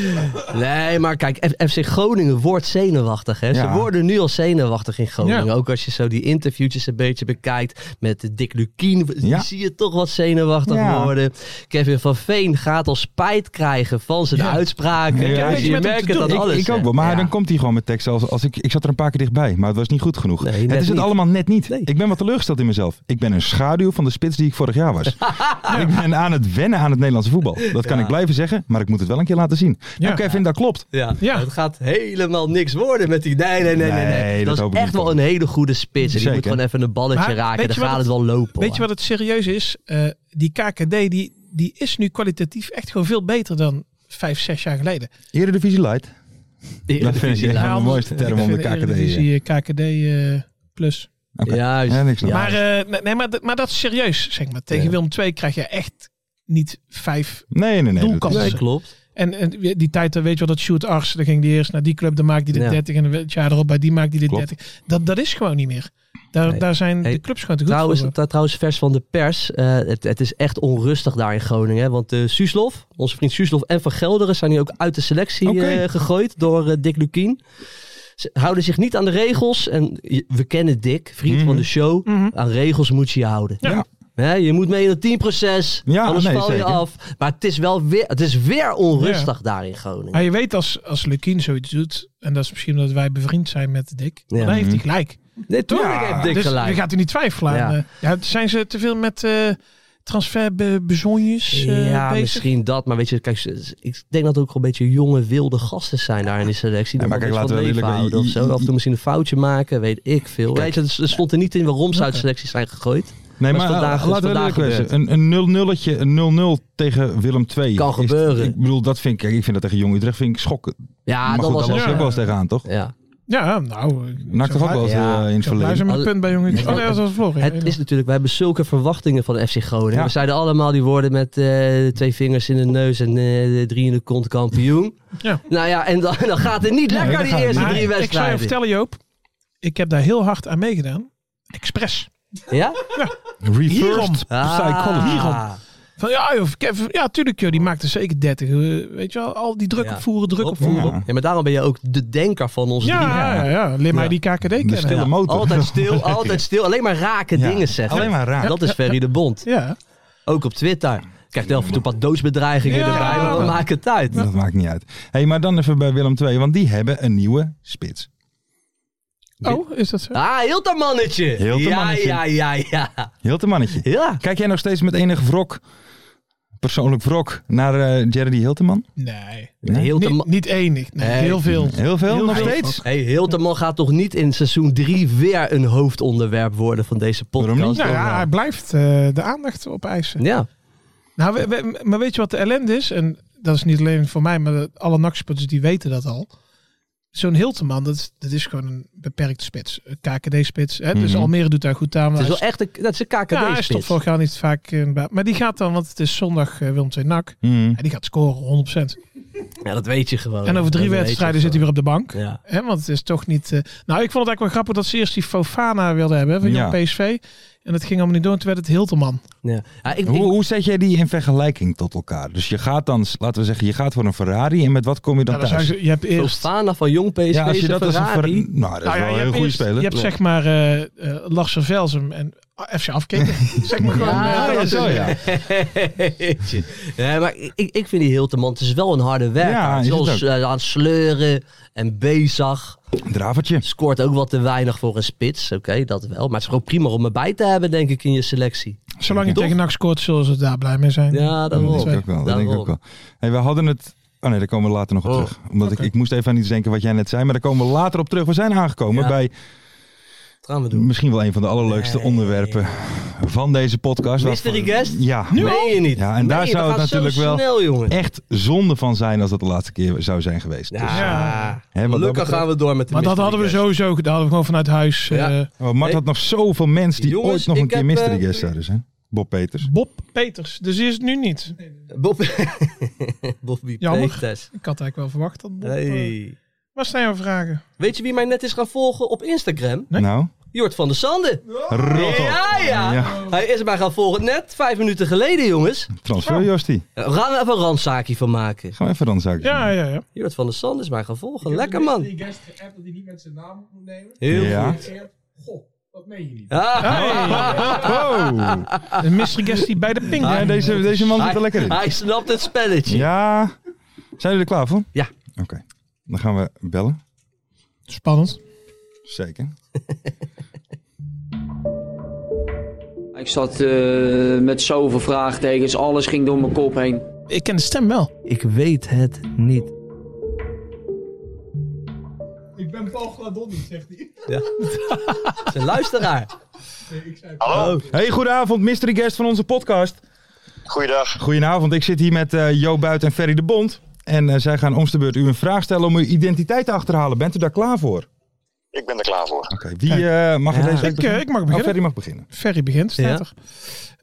Speaker 5: Nee, maar kijk, F- FC Groningen wordt zenuwachtig. Hè? Ze
Speaker 4: Ja.
Speaker 5: worden nu al zenuwachtig in Groningen.
Speaker 6: Ja.
Speaker 5: Ook als je zo die interviewtjes een beetje bekijkt met Dick Lukien.
Speaker 4: Ja.
Speaker 5: Zie je toch wat zenuwachtig
Speaker 4: Ja.
Speaker 5: worden. Kevin van Veen gaat al spijt krijgen van zijn uitspraken.
Speaker 4: Ja,
Speaker 5: Kijk,
Speaker 4: niks
Speaker 5: je
Speaker 6: met hem
Speaker 5: merkt
Speaker 6: te
Speaker 5: het
Speaker 6: doen.
Speaker 5: aan
Speaker 4: Ik,
Speaker 5: alles.
Speaker 4: ik ook
Speaker 5: hè.
Speaker 4: wel, maar
Speaker 5: Ja.
Speaker 4: dan komt hij gewoon met tekst. Als, als ik, ik zat er een paar keer dichtbij, maar het was niet goed genoeg.
Speaker 5: Nee,
Speaker 4: het
Speaker 5: net
Speaker 4: is het
Speaker 5: niet.
Speaker 4: allemaal net niet.
Speaker 5: Nee.
Speaker 4: Ik ben wat teleurgesteld in mezelf. Ik ben een schaduw van de spits die ik vorig jaar was. Ik ben aan het wennen aan het Nederlandse voetbal. Dat kan ik blijven zeggen, maar ik moet het wel een keer laten zien.
Speaker 6: Ja.
Speaker 4: Oké, Kevin, dat klopt.
Speaker 5: Ja.
Speaker 6: Ja.
Speaker 5: het gaat helemaal niks worden met die. Nee, nee, nee, nee. nee.
Speaker 4: Nee, dat
Speaker 5: dat
Speaker 4: hoop
Speaker 5: is
Speaker 4: ik
Speaker 5: echt
Speaker 4: niet.
Speaker 5: wel een hele goede spits. En die
Speaker 4: Zeker.
Speaker 5: moet gewoon even een balletje
Speaker 6: Maar
Speaker 5: raken.
Speaker 6: weet
Speaker 5: Dan
Speaker 6: je wat
Speaker 5: gaat het
Speaker 6: het-
Speaker 5: wel lopen.
Speaker 6: Weet
Speaker 5: hoor.
Speaker 6: je wat het serieus is? Eh, die KKD die, die is nu kwalitatief echt gewoon veel beter dan vijf, zes jaar geleden.
Speaker 4: Eredivisie Light.
Speaker 5: Die
Speaker 4: Dat vind ik
Speaker 5: Eredivisie
Speaker 4: echt
Speaker 5: laat.
Speaker 4: de
Speaker 6: anders-
Speaker 4: mooiste term
Speaker 6: ik
Speaker 4: om de
Speaker 6: vind
Speaker 4: KKD.
Speaker 6: Eredivisie, eh, KKD eh, plus.
Speaker 4: Oké.
Speaker 5: Juist.
Speaker 4: Ja, niks dan.
Speaker 5: Ja.
Speaker 6: Maar, eh, nee, nee, maar, dat- maar dat is serieus, zeg maar. Tegen
Speaker 5: Ja.
Speaker 6: Willem II krijg je echt niet vijf.
Speaker 4: Nee, nee, nee. dat
Speaker 6: Doelkans.
Speaker 4: is-
Speaker 5: Nee, klopt.
Speaker 6: En, en die tijd, dan weet je wel, dat shoot Ars, dan ging die eerst naar die club, dan maakt die de
Speaker 5: Ja.
Speaker 6: 30 en het jaar erop bij die maakt die de
Speaker 4: Klopt.
Speaker 6: 30. Dat, dat is gewoon niet meer. Daar,
Speaker 5: Nee.
Speaker 6: daar zijn
Speaker 5: Hey,
Speaker 6: de clubs gewoon te goed
Speaker 5: Trouwens,
Speaker 6: voor.
Speaker 5: trouw- trouwens, vers van de pers. eh, het, het is echt onrustig daar in Groningen. hè, Want eh Suslov, onze vriend Suslov en Van Gelderen zijn nu ook uit de selectie
Speaker 4: Oké.
Speaker 5: eh, gegooid door eh, Dick Lukien. Ze houden zich niet aan de regels. En je- we kennen Dick, vriend van de show. Aan regels moet je je houden.
Speaker 4: Mhm. Ja.
Speaker 5: Hè, je moet mee in het teamproces,
Speaker 4: Ja,
Speaker 5: anders
Speaker 4: nee,
Speaker 5: val je
Speaker 4: zeker.
Speaker 5: af. Maar het is wel weer, het is weer onrustig daar in Groningen.
Speaker 6: Maar je weet als, als Lukien zoiets doet, en dat is misschien omdat wij bevriend zijn met Dick,
Speaker 5: Ja.
Speaker 6: dan heeft hij gelijk.
Speaker 5: Nee, toch?
Speaker 6: Ja,
Speaker 5: heeft Dick
Speaker 6: dus
Speaker 5: gelijk.
Speaker 6: Je gaat er niet twijfelen aan.
Speaker 5: Ja.
Speaker 6: eh. Ja. zijn ze te veel met eh transferbezonjes eh,
Speaker 5: ja,
Speaker 6: bezig?
Speaker 5: misschien dat. Maar weet je, kijk, ze- ze- ik denk dat het ook gewoon een beetje jonge, wilde gasten zijn daar in die selectie.
Speaker 4: Ja,
Speaker 5: Die
Speaker 4: maar
Speaker 5: nog
Speaker 4: kijk,
Speaker 5: iets
Speaker 4: laten we
Speaker 5: van leven
Speaker 4: eerlijk-
Speaker 5: houden of
Speaker 4: i-
Speaker 5: zo.
Speaker 4: i-
Speaker 5: Af en toe misschien een foutje maken, weet ik veel. Weet je, het- het stond er niet in waarom ze uit de selectie zijn gegooid.
Speaker 4: Nee,
Speaker 5: Maar
Speaker 4: maar
Speaker 5: is vandaag-
Speaker 4: eh,
Speaker 5: is
Speaker 4: laten we
Speaker 5: vandaag
Speaker 4: eerlijk wezen. Een, een 0 0 een 0-0 tegen Willem 2.
Speaker 5: Kan gebeuren.
Speaker 4: Ik bedoel, dat vind ik, kijk, ik vind dat tegen Jong Utrecht vind ik schokken.
Speaker 5: Ja,
Speaker 4: maar
Speaker 5: dat
Speaker 4: goed,
Speaker 5: was
Speaker 4: daar lopen
Speaker 5: het.
Speaker 6: het-
Speaker 4: ze ook wel eens tegenaan, toch?
Speaker 5: Ja.
Speaker 6: Ja, nou. eh,
Speaker 4: Nak
Speaker 6: zo
Speaker 4: toch ook wel eens
Speaker 5: Ja.
Speaker 4: eh, in het
Speaker 6: Zo blij
Speaker 4: verleden.
Speaker 6: zijn met
Speaker 5: Alle-
Speaker 6: punt bij jongens. Oh nee, dat was Florian.
Speaker 5: Het is natuurlijk, we hebben zulke verwachtingen van FC Groningen.
Speaker 4: Ja.
Speaker 5: We zeiden allemaal die woorden met eh, twee vingers in de neus en eh, drie in de kont kampioen.
Speaker 6: Ja.
Speaker 5: Nou ja, en dan, dan gaat het niet lekker
Speaker 4: dan
Speaker 5: die
Speaker 4: gaat het
Speaker 5: eerste
Speaker 6: Maar
Speaker 5: drie
Speaker 6: ik zou je
Speaker 5: wedstrijden.
Speaker 6: vertellen, Joop. Ik heb daar heel hard aan meegedaan. Expres.
Speaker 5: Ja?
Speaker 6: Hierom.
Speaker 4: Reversed
Speaker 5: Ah.
Speaker 4: psychology.
Speaker 6: Van ja, joh, Kevin, ja, tuurlijk, joh, die maakte zeker 30. eh, Weet je wel, al die druk
Speaker 5: Ja.
Speaker 6: opvoeren, druk
Speaker 5: Hop,
Speaker 6: opvoeren.
Speaker 5: hop. Ja, maar daarom ben je ook de denker van onze drie.
Speaker 6: Ja, ja, ja. Leer mij
Speaker 5: Ja.
Speaker 6: die KKD kennen.
Speaker 4: De stille motor.
Speaker 5: Altijd stil, altijd stil. Alleen maar rake
Speaker 4: Ja,
Speaker 5: dingen zeggen.
Speaker 4: alleen maar raak.
Speaker 5: Dat is Ferry de Bond.
Speaker 6: Ja.
Speaker 5: Ook op Twitter. Krijgt af en toe wat doodsbedreigingen
Speaker 6: Ja.
Speaker 5: erbij. Maar we maken het uit.
Speaker 4: Dat maakt niet uit. hey, maar dan even bij Willem 2, want die hebben een nieuwe spits.
Speaker 6: Oh, is dat zo?
Speaker 5: Ah, Hiltermannetje.
Speaker 4: Hiltermannetje.
Speaker 5: Ja, ja, ja, ja.
Speaker 4: Heel te mannetje.
Speaker 5: Ja.
Speaker 4: Kijk jij nog steeds met enig wrok, persoonlijk wrok, naar eh Jerry Hilteman?
Speaker 6: Nee.
Speaker 4: Nee.
Speaker 5: Hilterman.
Speaker 6: Niet, niet enig. Nee,
Speaker 5: Nee.
Speaker 6: Heel veel.
Speaker 4: Heel veel, nog
Speaker 5: veel.
Speaker 4: steeds?
Speaker 5: Hey, Hilterman gaat toch niet in seizoen 3 weer een hoofdonderwerp worden van deze podcast?
Speaker 4: Waarom niet?
Speaker 6: Nou ja, hij
Speaker 5: ja.
Speaker 6: blijft eh, de aandacht opeisen.
Speaker 5: ja.
Speaker 6: Nou, we- we- maar weet je wat de ellende is? En dat is niet alleen voor mij, maar alle nachtsporters die weten dat al. Zo'n Hilteman, dat, is- dat is gewoon een beperkte spits. Een KKD-spits. Hè? Dus
Speaker 4: Mhm.
Speaker 6: Almere doet daar goed aan.
Speaker 5: Het
Speaker 6: maar
Speaker 5: is wel
Speaker 6: hij
Speaker 5: echt een, dat is een kkd
Speaker 6: is- ja, hij is tot vorig jaar niet vaak in de baan. Maar die gaat dan, want het is zondag eh, Willem II NAC.
Speaker 4: Mm.
Speaker 6: En die gaat scoren, 100%.
Speaker 5: Ja, dat weet je gewoon.
Speaker 6: En over drie
Speaker 5: Oh, Dat weet je
Speaker 6: wedstrijden zit hij weer
Speaker 5: gewoon.
Speaker 6: op de bank.
Speaker 5: Ja.
Speaker 6: Hè, want het is toch niet. eh, nou, ik vond het eigenlijk wel grappig dat ze eerst die Fofana wilden hebben van
Speaker 4: Ja.
Speaker 6: Jong PSV. En dat ging allemaal niet door. En toen werd het Hilterman.
Speaker 5: Ja. Ja, ik,
Speaker 4: Hoe,
Speaker 5: ik-
Speaker 4: hoe zet jij die in vergelijking tot elkaar? Dus je gaat dan, laten we zeggen, je gaat voor een Ferrari en met wat kom je dan
Speaker 6: Nou, dan zou
Speaker 4: thuis?
Speaker 6: je, je hebt eerst.
Speaker 5: Fofana van jong PSV
Speaker 4: Ja, als je
Speaker 5: is een
Speaker 4: dat als een
Speaker 5: Ferrari.
Speaker 4: Ferrari... Nou, dat is
Speaker 6: nou ja,
Speaker 4: wel
Speaker 6: je
Speaker 4: een hele
Speaker 6: hebt
Speaker 4: goede
Speaker 6: eerst-
Speaker 4: speler.
Speaker 6: Je hebt zeg maar eh eh Larsen Velsen en ah, FC afkeken. zeg maar gewoon.
Speaker 5: Ja,
Speaker 6: eh,
Speaker 4: ja,
Speaker 6: dat
Speaker 4: zo
Speaker 6: is-
Speaker 4: ja.
Speaker 5: Jeetje. nee, maar ik, ik vind die Hilterman, het is wel een harde werker.
Speaker 4: Ja,
Speaker 5: het
Speaker 4: is
Speaker 5: is wel
Speaker 4: het
Speaker 5: s- eh, aan het sleuren en bezig.
Speaker 4: Dravertje.
Speaker 5: Scoort ook wat te weinig voor een spits, oké, dat wel. Maar het is gewoon prima om erbij te hebben, denk ik, in je selectie.
Speaker 6: Zolang je
Speaker 5: Toch?
Speaker 6: tegen NAC scoort, zullen ze daar blij mee zijn.
Speaker 5: Ja,
Speaker 4: Dat
Speaker 5: daarom.
Speaker 4: denk ik ook wel. Dat denk ik ook wel. Hey, we hadden het... Oh nee, daar komen we later nog op
Speaker 5: Oh,
Speaker 4: terug. Omdat ik, ik moest even aan iets denken wat jij net zei, maar daar komen we later op terug. We zijn aangekomen
Speaker 5: Ja.
Speaker 4: bij
Speaker 5: Dat gaan we doen.
Speaker 4: misschien wel een van de allerleukste
Speaker 5: Nee.
Speaker 4: onderwerpen van deze podcast.
Speaker 5: Mystery
Speaker 4: Waarvan-
Speaker 5: guest?
Speaker 4: Ja.
Speaker 5: Nu Meen je niet?
Speaker 4: Ja, en daar
Speaker 5: Meen je?
Speaker 4: zou
Speaker 5: Dat
Speaker 4: het
Speaker 5: gaat
Speaker 4: natuurlijk wel-
Speaker 5: Zo snel, jongen.
Speaker 4: Echt zonde van zijn als dat de laatste keer zou zijn geweest.
Speaker 5: Ja.
Speaker 4: Dus,
Speaker 6: Ja.
Speaker 4: hè, wat dat
Speaker 5: Gelukkig
Speaker 4: betreft-
Speaker 5: gaan we door met de
Speaker 6: Maar dat
Speaker 5: mystery
Speaker 6: hadden we
Speaker 5: guest.
Speaker 6: sowieso gedaan. Dat hadden we gewoon vanuit huis. eh,
Speaker 5: Ja.
Speaker 4: Maar Oh, Mart
Speaker 5: Nee.
Speaker 4: had nog zoveel mensen die
Speaker 5: Jongens,
Speaker 4: ooit nog een
Speaker 5: ik
Speaker 4: keer
Speaker 5: heb,
Speaker 4: mystery
Speaker 5: eh,
Speaker 4: guest zouden zijn. Bob Peters.
Speaker 6: Bob Peters. Dus die is het nu niet.
Speaker 5: Bob... Bobby
Speaker 6: Jammer.
Speaker 5: Peters.
Speaker 6: Ik had eigenlijk wel verwacht dat Bob. eh,
Speaker 5: Hey.
Speaker 6: waar zijn jouw vragen?
Speaker 5: Weet je wie mij net is gaan volgen op Instagram?
Speaker 6: Nee?
Speaker 4: Nou,
Speaker 5: Jort van der Sande.
Speaker 4: rot op.
Speaker 5: Ja, ja,
Speaker 4: Ja.
Speaker 5: Hij is mij gaan volgen. Net vijf minuten geleden, jongens.
Speaker 4: Transfer Jostie.
Speaker 5: Eh, Gaan we even een randzaakje van maken.
Speaker 4: Gaan we even dan zaken
Speaker 6: Ja, ja, ja.
Speaker 5: Jort van der Sand is mij gaan volgen. Lekker, man.
Speaker 6: guest geappt dat hij niet met zijn naam moet nemen.
Speaker 5: Heel
Speaker 4: Ja.
Speaker 5: goed.
Speaker 6: Goh, dat meen je niet.
Speaker 5: Ah,
Speaker 4: Oh.
Speaker 6: Een mystery guest die bij de ping.
Speaker 4: Ja,
Speaker 6: hè?
Speaker 4: deze, deze man zit er
Speaker 5: hij,
Speaker 4: lekker in.
Speaker 5: hij snapt het spelletje.
Speaker 4: Ja. Zijn jullie er klaar voor?
Speaker 5: Ja.
Speaker 4: Oké. Dan gaan we bellen.
Speaker 6: Spannend.
Speaker 4: Zeker.
Speaker 7: Ik zat eh, met zoveel vraagtekens, alles ging door mijn kop heen.
Speaker 6: Ik ken de stem wel.
Speaker 5: Ik weet het niet.
Speaker 6: Ik ben Paul Gladon, zegt hij.
Speaker 5: Het is een luisteraar.
Speaker 8: Hallo,
Speaker 4: Hey, goedenavond, mystery guest van onze podcast.
Speaker 8: goeiedag.
Speaker 4: Goedenavond, ik zit hier met eh Jo Buit en Ferry de Bond. En eh, zij gaan om de beurt u een vraag stellen om uw identiteit te achterhalen. Bent u daar klaar voor? Oké,
Speaker 8: Ik ben er klaar voor.
Speaker 4: wie eh, mag er
Speaker 5: Ja.
Speaker 4: deze week
Speaker 6: Ik, eh,
Speaker 4: beginnen?
Speaker 6: ik mag
Speaker 4: Oh,
Speaker 6: beginnen.
Speaker 4: Ferry mag beginnen.
Speaker 6: Ferry begint, staat
Speaker 5: Ja.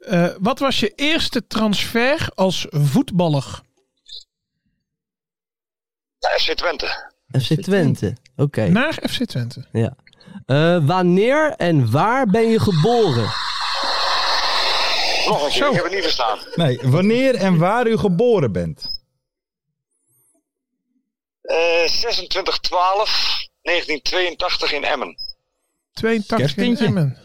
Speaker 6: er. Eh, wat was je eerste transfer als voetballer?
Speaker 8: Nou, FC Twente.
Speaker 5: FC Twente. Oké.
Speaker 6: Naar FC Twente.
Speaker 5: Ja. Eh, wanneer en waar ben je geboren?
Speaker 8: Nog een keer,
Speaker 6: Zo.
Speaker 8: ik heb het niet verstaan.
Speaker 4: Nee, wanneer en waar u geboren bent?
Speaker 8: Eh 26-12 1982 in Emmen.
Speaker 6: 82 in
Speaker 4: Kerstintje.
Speaker 6: Emmen.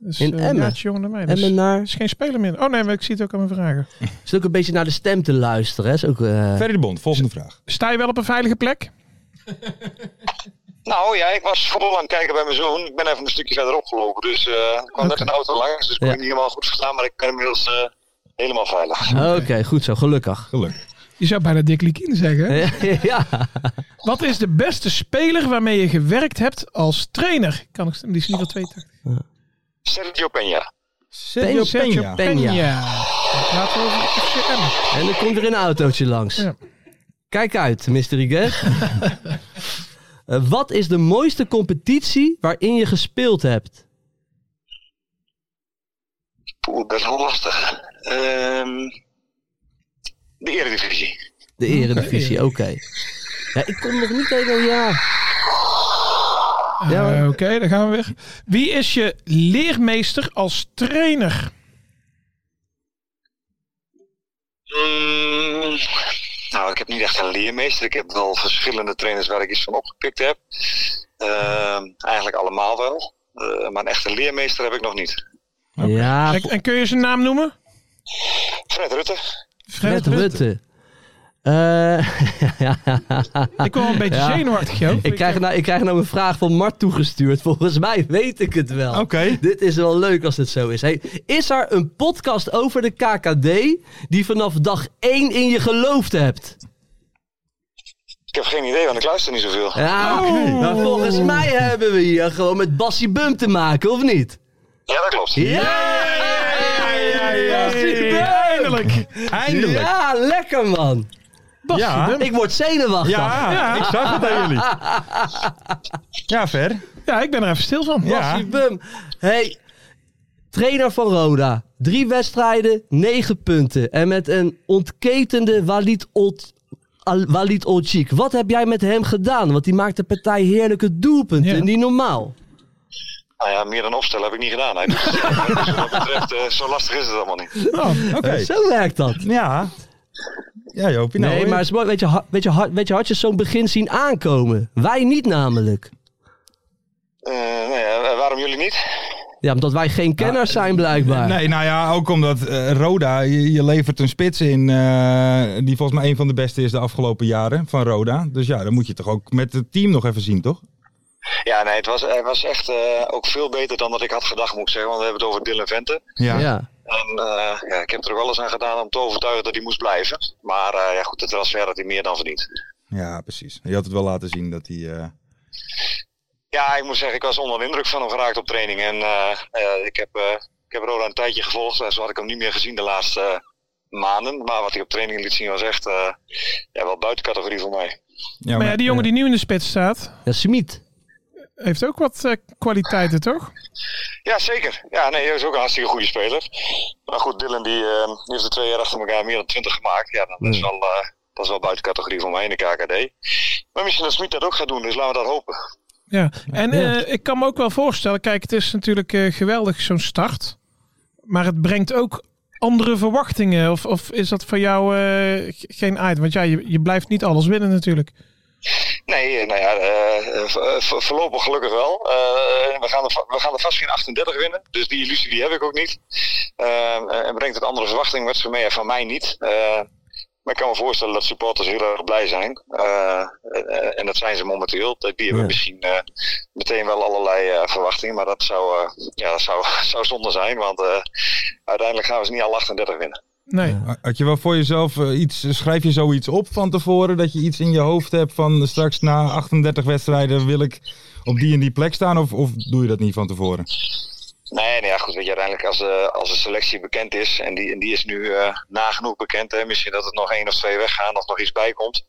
Speaker 6: Dus,
Speaker 5: In
Speaker 6: eh,
Speaker 5: Emmen.
Speaker 6: Ja, het is jonger dan mij. Dus
Speaker 5: En naar...
Speaker 6: is geen speler meer. Oh nee, maar ik zie het ook aan mijn vragen.
Speaker 5: Is ook een beetje naar de stem te luisteren. Hè? Is ook, eh,
Speaker 4: Ferry de Bond, volgende vraag.
Speaker 6: Sta je wel op een veilige plek?
Speaker 8: Nou ja, ik was vooral aan het kijken bij mijn zoon. Ik ben even een stukje verderop gelopen. Dus eh, ik kwam net een auto langs, dus ik kon
Speaker 5: Ja.
Speaker 8: niet helemaal goed verstaan. Maar ik ben inmiddels eh, helemaal veilig.
Speaker 5: Oké, goed zo. Gelukkig.
Speaker 4: Geluk.
Speaker 6: Je zou bijna Dick Likien zeggen. hè?
Speaker 5: ja.
Speaker 6: Wat is de beste speler waarmee je gewerkt hebt als trainer? Ik Kan ik die is niet wel twee takken.
Speaker 8: Sergio Peña.
Speaker 4: Sergio
Speaker 6: Sergio
Speaker 4: Peña.
Speaker 5: Peña.
Speaker 6: Laten we over FC Emmen.
Speaker 5: En dan komt er een autootje langs.
Speaker 6: Ja.
Speaker 5: Kijk uit, mystery guest. Eh, wat is de mooiste competitie waarin je gespeeld hebt?
Speaker 8: Poeh, best wel lastig. Ehm, de Eredivisie.
Speaker 5: De Eredivisie, oké. Ja, ik kom nog niet even... Ja. Ja,
Speaker 6: Eh,
Speaker 5: hoor.
Speaker 6: Oké, daar gaan we weer. Wie is je leermeester als trainer?
Speaker 8: Mm, nou, ik heb niet echt een leermeester. Ik heb wel verschillende trainers waar ik iets van opgepikt heb. Ehm, eigenlijk allemaal wel. Eh, maar een echte leermeester heb ik nog niet.
Speaker 5: ja,
Speaker 6: En, en kun je zijn naam noemen?
Speaker 8: Fred Rutte.
Speaker 5: Fred Rutte. Eh,
Speaker 6: Ik word wel een beetje
Speaker 5: Ja.
Speaker 6: zenuwachtig, joh.
Speaker 5: ik, krijg nou, ik krijg nou een vraag van Mart toegestuurd. Volgens mij weet ik het wel.
Speaker 4: Oké.
Speaker 5: Dit is wel leuk als het zo is. Hey, is er een podcast over de KKD die vanaf dag 1 in je geloofd hebt?
Speaker 8: Ik heb geen idee, want ik luister niet zoveel.
Speaker 4: Ah,
Speaker 5: Ja, maar volgens
Speaker 4: Oh.
Speaker 5: mij hebben we hier gewoon met Bassie Bum te maken, of niet?
Speaker 8: Ja, dat klopt.
Speaker 5: Ja! Bassie Bum!
Speaker 6: Eindelijk.
Speaker 4: Eindelijk.
Speaker 5: Ja, lekker man.
Speaker 6: Bassie
Speaker 4: Ja.
Speaker 6: Bum.
Speaker 5: Ik word zenuwachtig.
Speaker 4: Ja, ik zag het aan jullie. Ja, Ver.
Speaker 6: Ja, ik ben er even stil van. Oh,
Speaker 4: Ja.
Speaker 5: Bassie Bum. Hey, trainer van Roda. Drie wedstrijden, negen punten. En met een ontketende Walid Ot... Al- Walid Olcik. Wat heb jij met hem gedaan? Want die maakt de partij heerlijke doelpunten.
Speaker 6: Ja.
Speaker 5: Niet normaal.
Speaker 8: Nou ja, meer dan opstellen heb ik niet gedaan. Hij doet het zelf. dus wat dat betreft, eh, zo lastig is het allemaal niet.
Speaker 6: Oh,
Speaker 4: Oké.
Speaker 5: Zo werkt dat.
Speaker 4: Eh, Ja. Ja, Joopie. Nou,
Speaker 5: Nee, maar het is mooi. Weet je, ha- weet je, ha- weet je had je zo'n begin zien aankomen? Wij niet namelijk.
Speaker 8: Eh, nou ja, eh, waarom jullie niet?
Speaker 5: Ja, omdat wij geen kenners zijn blijkbaar.
Speaker 4: Nee, nou ja, ook omdat eh, Roda, je, je levert een spits in eh, die volgens mij een van de beste is de afgelopen jaren van Roda. Dus ja, dan moet je toch ook met het team nog even zien, toch?
Speaker 8: Ja, nee, het was, hij was echt eh, ook veel beter dan dat ik had gedacht, moet ik zeggen. Want we hebben het over Dylan Vente.
Speaker 4: Ja.
Speaker 5: Ja.
Speaker 8: En eh, ja, ik heb er wel eens aan gedaan om te overtuigen dat hij moest blijven. Maar eh, ja, goed, de transfer had hij meer dan verdiend.
Speaker 4: Ja, precies. Je had het wel laten zien dat hij... eh,
Speaker 8: Ja, ik moet zeggen, ik was onder de indruk van hem geraakt op training. En eh, eh, ik, heb, eh, ik heb Roda een tijdje gevolgd. En zo had ik hem niet meer gezien de laatste eh, maanden. Maar wat hij op training liet zien was echt eh, ja, wel buiten categorie voor mij.
Speaker 4: ja,
Speaker 6: Maar ja, die jongen die nu in de spits staat,
Speaker 5: ja Smit.
Speaker 6: heeft ook wat eh, kwaliteiten, toch?
Speaker 8: Ja, zeker. Ja, nee, hij is ook een hartstikke goede speler. Maar goed, Dylan die, eh, die heeft er twee jaar achter elkaar meer dan twintig gemaakt. Ja, dat is wel, eh, dat is wel buiten categorie voor mij in de KKD. Maar misschien dat Smit dat ook gaat doen, dus laten we dat hopen.
Speaker 6: Ja, en eh, ik kan me ook wel voorstellen, kijk, het is natuurlijk eh, geweldig zo'n start, maar het brengt ook andere verwachtingen. Of, of is dat voor jou eh, g- geen item? Want ja, je, je blijft niet alles winnen natuurlijk.
Speaker 8: Nee, eh, nou ja, eh, eh, v- eh, v- voorlopig gelukkig wel. Eh, we, gaan er, va- we gaan er vast geen 38 winnen, dus die illusie die heb ik ook niet. Ehm, eh, en brengt het andere verwachting met zich mee, en van mij niet. Eh, maar ik kan me voorstellen dat supporters heel erg blij zijn. Eh, eh, eh, en dat zijn ze momenteel. Die hebben
Speaker 5: Ja.
Speaker 8: misschien eh, meteen wel allerlei eh, verwachtingen, maar dat zou, eh, ja, dat zou, zou zonde zijn, want eh, uiteindelijk gaan we ze niet alle 38 winnen.
Speaker 6: Nee.
Speaker 4: Had je wel voor jezelf eh, iets, schrijf je zoiets op van tevoren, dat je iets in je hoofd hebt van eh, straks na 38 wedstrijden wil ik op die en die plek staan, of, of doe je dat niet van tevoren?
Speaker 8: Nee, nee, ja, goed. Weet je, uiteindelijk als, eh, als de selectie bekend is, en die, en die is nu eh, nagenoeg bekend, hè, misschien dat er nog één of twee weggaan of nog iets bij komt.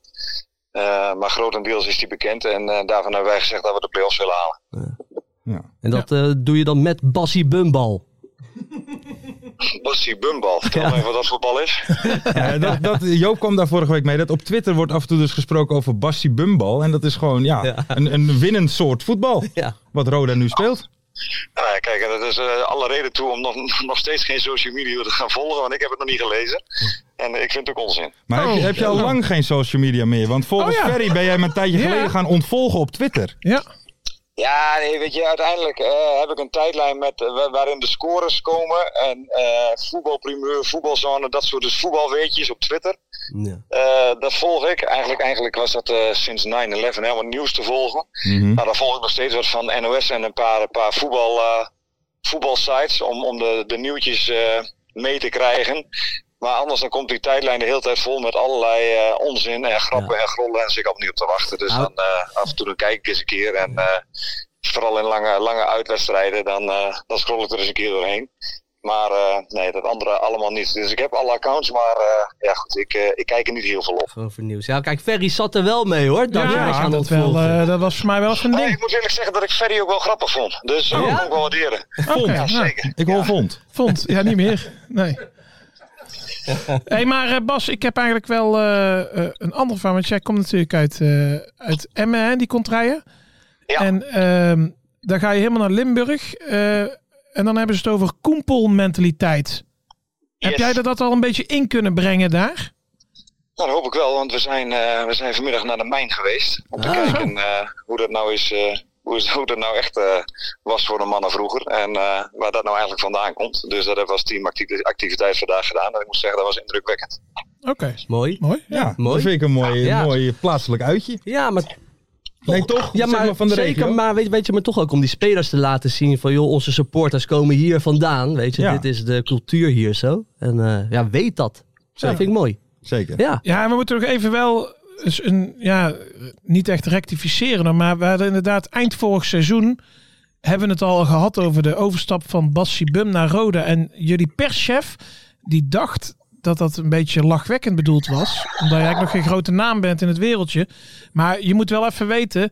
Speaker 8: Eh, maar grotendeels is die bekend en eh, daarvan hebben wij gezegd dat we de play-offs willen halen.
Speaker 4: Ja.
Speaker 5: En dat eh, doe je dan met Bassie Bumbal.
Speaker 8: Bassie Bumbal, vertel me even wat dat voor bal is.
Speaker 4: Ja, Eh, dat, dat, Joop kwam daar vorige week mee. Dat op Twitter wordt af en toe dus gesproken over Bassi Bumbal. En dat is gewoon ja, Een, een winnend soort voetbal.
Speaker 5: Ja.
Speaker 4: Wat Roda nu speelt.
Speaker 8: Nou ja, kijk, en dat is eh, alle reden toe om nog, nog steeds geen social media te gaan volgen, want ik heb het nog niet gelezen. En ik vind het ook onzin.
Speaker 4: Maar heb, je, heb je al lang geen social media meer? Want volgens
Speaker 6: Oh ja.
Speaker 4: Ferry ben jij hem een tijdje
Speaker 6: Ja.
Speaker 4: geleden gaan ontvolgen op Twitter.
Speaker 6: Ja.
Speaker 8: Ja, nee, weet je, uiteindelijk eh, heb ik een tijdlijn met, eh, wa- waarin de scores komen. En eh voetbalprimeur, voetbalzone, dat soort dus voetbalweetjes op Twitter.
Speaker 5: Ja.
Speaker 8: Eh, dat volg ik. Eigenlijk, eigenlijk was dat eh, sinds 9-11 helemaal nieuws te volgen. Maar daar volg ik nog steeds wat van NOS en een paar, een paar voetbal, eh, voetbalsites om, om de, de nieuwtjes eh, mee te krijgen. Maar anders dan komt die tijdlijn de hele tijd vol met allerlei eh, onzin en grappen en grollen. En zit ik opnieuw op te wachten. Dus
Speaker 5: Nou-
Speaker 8: dan eh, af en toe dan kijk ik eens een keer. En eh, vooral in lange, lange uitwedstrijden, dan, eh, dan scroll ik er eens een keer doorheen. Maar eh, nee, dat andere allemaal niet. Dus ik heb alle accounts, maar eh, ja goed, ik, eh, ik kijk er niet heel veel op.
Speaker 5: Gewoon voor nieuws. Ja, kijk, Ferry zat er wel mee hoor. Dat jij
Speaker 6: ja,
Speaker 5: aan
Speaker 6: dat,
Speaker 5: het
Speaker 6: wel,
Speaker 5: volgen.
Speaker 6: eh, dat was voor mij wel eens een
Speaker 8: Maar
Speaker 6: ding.
Speaker 8: ik moet eerlijk zeggen dat ik Ferry ook wel grappig vond. Dus
Speaker 6: Oh.
Speaker 8: dat
Speaker 5: ja?
Speaker 8: kon ik wel waarderen.
Speaker 6: Oké,
Speaker 8: Ja,
Speaker 6: nou,
Speaker 8: zeker.
Speaker 4: Ik hoor vond.
Speaker 6: vond. Ja, niet meer. Nee. hey, maar eh, Bas, ik heb eigenlijk wel eh, eh, een ander van. Want jij komt natuurlijk uit, eh, uit Emmen, hè, die komt rijden.
Speaker 8: Ja.
Speaker 6: En ehm, dan ga je helemaal naar Limburg. eh, en dan hebben ze het over koempelmentaliteit. Heb
Speaker 8: Yes.
Speaker 6: jij er dat al een beetje in kunnen brengen daar?
Speaker 8: Nou, dat hoop ik wel, want we zijn, eh, we zijn vanmiddag naar de mijn geweest. Om te kijken eh, hoe dat nou is. eh, hoe, is- hoe dat nou echt eh, was voor de mannen vroeger. En eh, waar dat nou eigenlijk vandaan komt. Dus dat hebben we als team activiteit vandaag gedaan. En ik moet zeggen, dat was indrukwekkend.
Speaker 6: Oké,
Speaker 5: Mooi.
Speaker 6: mooi.
Speaker 4: Ja,
Speaker 5: mooi.
Speaker 4: dat vind ik een mooi,
Speaker 5: Ja.
Speaker 4: mooi plaatselijk uitje.
Speaker 5: Ja, maar,
Speaker 4: Nee, toch?
Speaker 5: ja,
Speaker 4: Zeg
Speaker 5: maar,
Speaker 4: van de
Speaker 5: zeker.
Speaker 4: regio.
Speaker 5: Maar weet, weet je, maar toch ook om die spelers te laten zien van... joh, onze supporters komen hier vandaan. Weet je,
Speaker 4: Ja.
Speaker 5: dit is de cultuur hier zo. En eh, ja, weet dat.
Speaker 4: Zeker.
Speaker 5: Dat vind ik mooi.
Speaker 4: Zeker.
Speaker 5: Ja.
Speaker 6: Ja, en we moeten nog even wel eens een, ja, niet echt rectificeren, dan, maar we hadden inderdaad eind vorig seizoen hebben we het al gehad over de overstap van Bassi Bum naar Roda. En jullie perschef, die dacht dat dat een beetje lachwekkend bedoeld was. Omdat jij nog geen grote naam bent in het wereldje. Maar je moet wel even weten,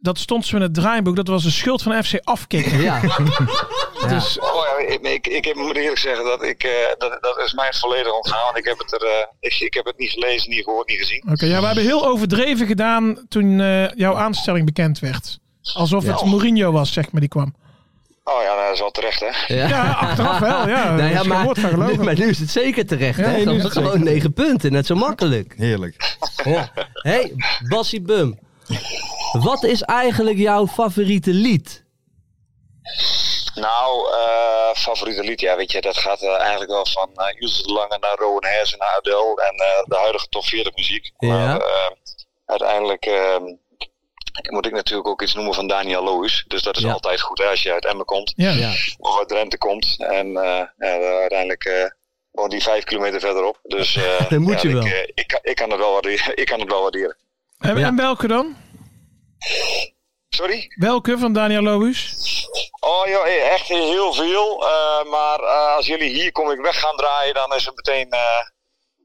Speaker 6: dat stond zo in het draaiboek. Dat was de schuld van FC Afkikken.
Speaker 5: Ja. ja.
Speaker 8: Oh, ja, ik, ik, ik, heb- moet eerlijk zeggen, dat, ik, eh, dat, dat is mij volledig ontgaan. Want ik heb het, er, eh, ik, ik heb het niet gelezen, niet gehoord, niet gezien.
Speaker 6: Oké, ja, we hebben heel overdreven gedaan toen eh, jouw aanstelling bekend werd. Alsof het Mourinho was, zeg maar, die kwam.
Speaker 8: Oh ja, nou, dat is wel terecht, hè?
Speaker 6: Ja, achteraf wel, ja.
Speaker 5: Nou
Speaker 6: Nee,
Speaker 5: ja, maar,
Speaker 6: woord van
Speaker 5: nu,
Speaker 6: gelogen.
Speaker 5: maar nu is het zeker terecht. hè?
Speaker 4: nee,
Speaker 5: Dan
Speaker 4: nu is het
Speaker 5: gewoon negen punten, net zo makkelijk.
Speaker 4: Heerlijk.
Speaker 5: Ja. hey, Bassie Bum. Wat is eigenlijk jouw favoriete lied?
Speaker 8: Nou, eh, favoriete lied, ja, weet je, dat gaat eh, eigenlijk wel van eh Ilse de Lange naar Rowan Hersen naar Adele en eh, de huidige top 40 muziek.
Speaker 5: Ja.
Speaker 8: Maar eh, uiteindelijk eh, moet ik natuurlijk ook iets noemen van Daniel Loos. Dus dat is
Speaker 5: Ja.
Speaker 8: altijd goed hè, als je uit Emmen komt
Speaker 6: ja.
Speaker 5: Ja.
Speaker 8: of uit Drenthe komt. En eh, ja, uiteindelijk eh woont die vijf kilometer verderop. Dus eh,
Speaker 5: Dat moet
Speaker 8: ja,
Speaker 5: je wel.
Speaker 8: Ik, eh, ik, kan- ik kan het wel waarderen. ik kan het wel waarderen.
Speaker 6: En,
Speaker 5: Ja.
Speaker 6: en welke dan?
Speaker 8: Sorry?
Speaker 6: Welke van Daniel Lohuus?
Speaker 8: Oh joh, eh, echt heel veel. Eh, maar eh, als jullie hier kom ik weg gaan draaien, dan is het meteen, eh,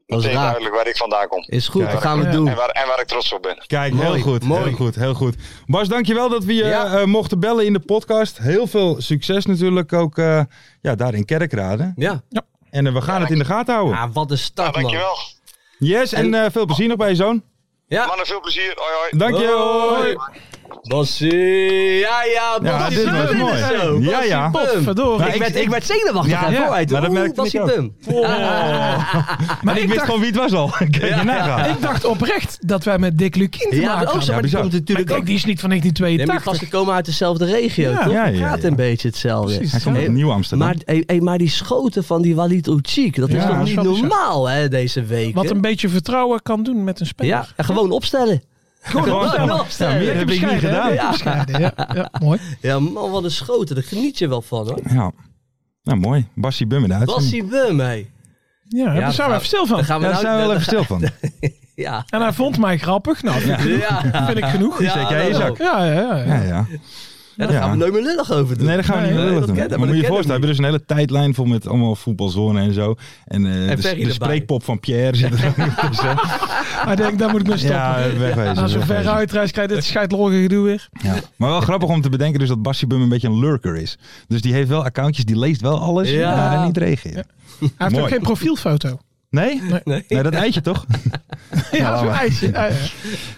Speaker 5: Dat is
Speaker 8: meteen
Speaker 5: raar.
Speaker 8: duidelijk waar ik vandaan kom.
Speaker 5: Is goed,
Speaker 4: Kijk.
Speaker 5: dat gaan we
Speaker 6: Ja.
Speaker 5: doen.
Speaker 8: En waar, en waar ik trots op ben.
Speaker 4: Kijk,
Speaker 5: Mooi,
Speaker 4: heel goed.
Speaker 5: mooi.
Speaker 4: Heel goed, heel goed. Bas, dankjewel dat we je
Speaker 5: Ja.
Speaker 4: eh, mochten bellen in de podcast. Heel veel succes natuurlijk ook eh, ja, daar in Kerkrade.
Speaker 5: Ja.
Speaker 4: En eh, we gaan het in de gaten houden.
Speaker 5: Ah, wat een
Speaker 8: Nou,
Speaker 5: start, man.
Speaker 8: dankjewel.
Speaker 4: Yes, en eh, veel plezier nog bij je zoon.
Speaker 5: Ja.
Speaker 8: Mannen, veel plezier. Hoi hoi.
Speaker 4: Dank je.
Speaker 5: Hoi. Bassie. Ja, ja,
Speaker 4: Ja,
Speaker 5: Bassie
Speaker 4: dit
Speaker 5: Bum
Speaker 4: was
Speaker 5: is
Speaker 4: mooi.
Speaker 5: er zo.
Speaker 4: Ja,
Speaker 5: Bassie
Speaker 4: ja.
Speaker 5: Bum.
Speaker 6: Potverdorie.
Speaker 5: Ehm, Ik werd, ik werd zenuwachtig
Speaker 4: Ja,
Speaker 5: ja,
Speaker 4: ja.
Speaker 5: vooruit.
Speaker 4: Maar dat merkte ik
Speaker 5: Bassie
Speaker 4: ook.
Speaker 5: Bum.
Speaker 4: Maar ik wist gewoon wie het was al. Kijk je nagaan.
Speaker 6: Ik dacht oprecht dat wij met Dick Lukien te
Speaker 5: Ja,
Speaker 6: maken
Speaker 5: ook
Speaker 6: hadden.
Speaker 5: zo, maar die
Speaker 4: bizar.
Speaker 5: komt
Speaker 6: Maar ik
Speaker 5: natuurlijk
Speaker 6: denk,
Speaker 5: ook.
Speaker 6: die is niet van
Speaker 5: Ja, maar die
Speaker 6: 1982.
Speaker 5: gasten komen uit dezelfde regio,
Speaker 6: Ja.
Speaker 5: toch?
Speaker 4: Ja, ja,
Speaker 5: Praat
Speaker 4: ja.
Speaker 5: een beetje hetzelfde.
Speaker 6: Precies.
Speaker 4: Hij komt
Speaker 5: Hey,
Speaker 4: uit Nieuw Amsterdam.
Speaker 5: Maar, hey, hey, maar die schoten van die Walid Oetziek, dat is
Speaker 4: Ja,
Speaker 5: toch
Speaker 4: dat
Speaker 5: niet
Speaker 4: is wel bizar.
Speaker 5: normaal hè, deze week?
Speaker 6: Wat
Speaker 5: hè?
Speaker 6: een beetje vertrouwen kan doen met een speler.
Speaker 5: Ja, en gewoon opstellen.
Speaker 4: Gewoon
Speaker 5: Gewoon
Speaker 4: staan. Ja,
Speaker 5: opstellen.
Speaker 4: meer heb ik niet
Speaker 6: bescheiden, hè?
Speaker 4: gedaan.
Speaker 6: Lekker bescheiden, ja. Ja, mooi.
Speaker 5: Ja, man, wat een schoten. Daar geniet je wel van, hoor.
Speaker 4: Ja. Nou, mooi. Bassie Bum in de uitzending.
Speaker 5: Bassie Bum, hé.
Speaker 6: Ja, daar
Speaker 5: dan
Speaker 6: zijn we even stil
Speaker 5: Daar
Speaker 6: van.
Speaker 5: gaan we
Speaker 4: Ja, daar zijn
Speaker 5: nou...
Speaker 4: we wel even stil van.
Speaker 5: Ja.
Speaker 6: En hij vond mij grappig. Nou, dat
Speaker 5: Ja.
Speaker 6: vind ik genoeg.
Speaker 5: Ja,
Speaker 4: Zeker, jij,
Speaker 5: dat
Speaker 4: Isaac.
Speaker 5: ook.
Speaker 6: Ja, ja, ja.
Speaker 4: Ja, ja.
Speaker 5: Ja, daar
Speaker 4: Ja.
Speaker 5: gaan we nooit meer lullig over doen.
Speaker 4: Nee, daar gaan we
Speaker 6: Nee,
Speaker 4: niet meer
Speaker 5: nee,
Speaker 4: lullig
Speaker 5: dat
Speaker 4: doen.
Speaker 5: ken- dat
Speaker 4: Maar moet je je
Speaker 5: kennen we
Speaker 4: voorstellen, we hebben dus een hele tijdlijn vol met allemaal voetbalzone en zo. En, eh, de,
Speaker 5: Ferry
Speaker 4: de
Speaker 5: erbij.
Speaker 4: spreekpop van Pierre zit er ook nog tussen.
Speaker 6: Hij denkt, daar moet ik mee stoppen.
Speaker 4: Ja, wegwezen.
Speaker 6: Als we ver
Speaker 4: wegwezen.
Speaker 6: uitreis krijgt, dit scheidlorgen gedoe weer.
Speaker 4: Ja. Maar wel grappig om te bedenken dus dat Bassie Bum een beetje een lurker is. Dus die heeft wel accountjes, die leest wel alles,
Speaker 5: Ja.
Speaker 4: maar dan niet reageert.
Speaker 6: Hij heeft ook
Speaker 4: Mooi.
Speaker 6: geen profielfoto.
Speaker 4: Nee? Nee, dat eitje toch?
Speaker 6: Ja, zo'n
Speaker 4: maar.
Speaker 6: ijsje. Ja,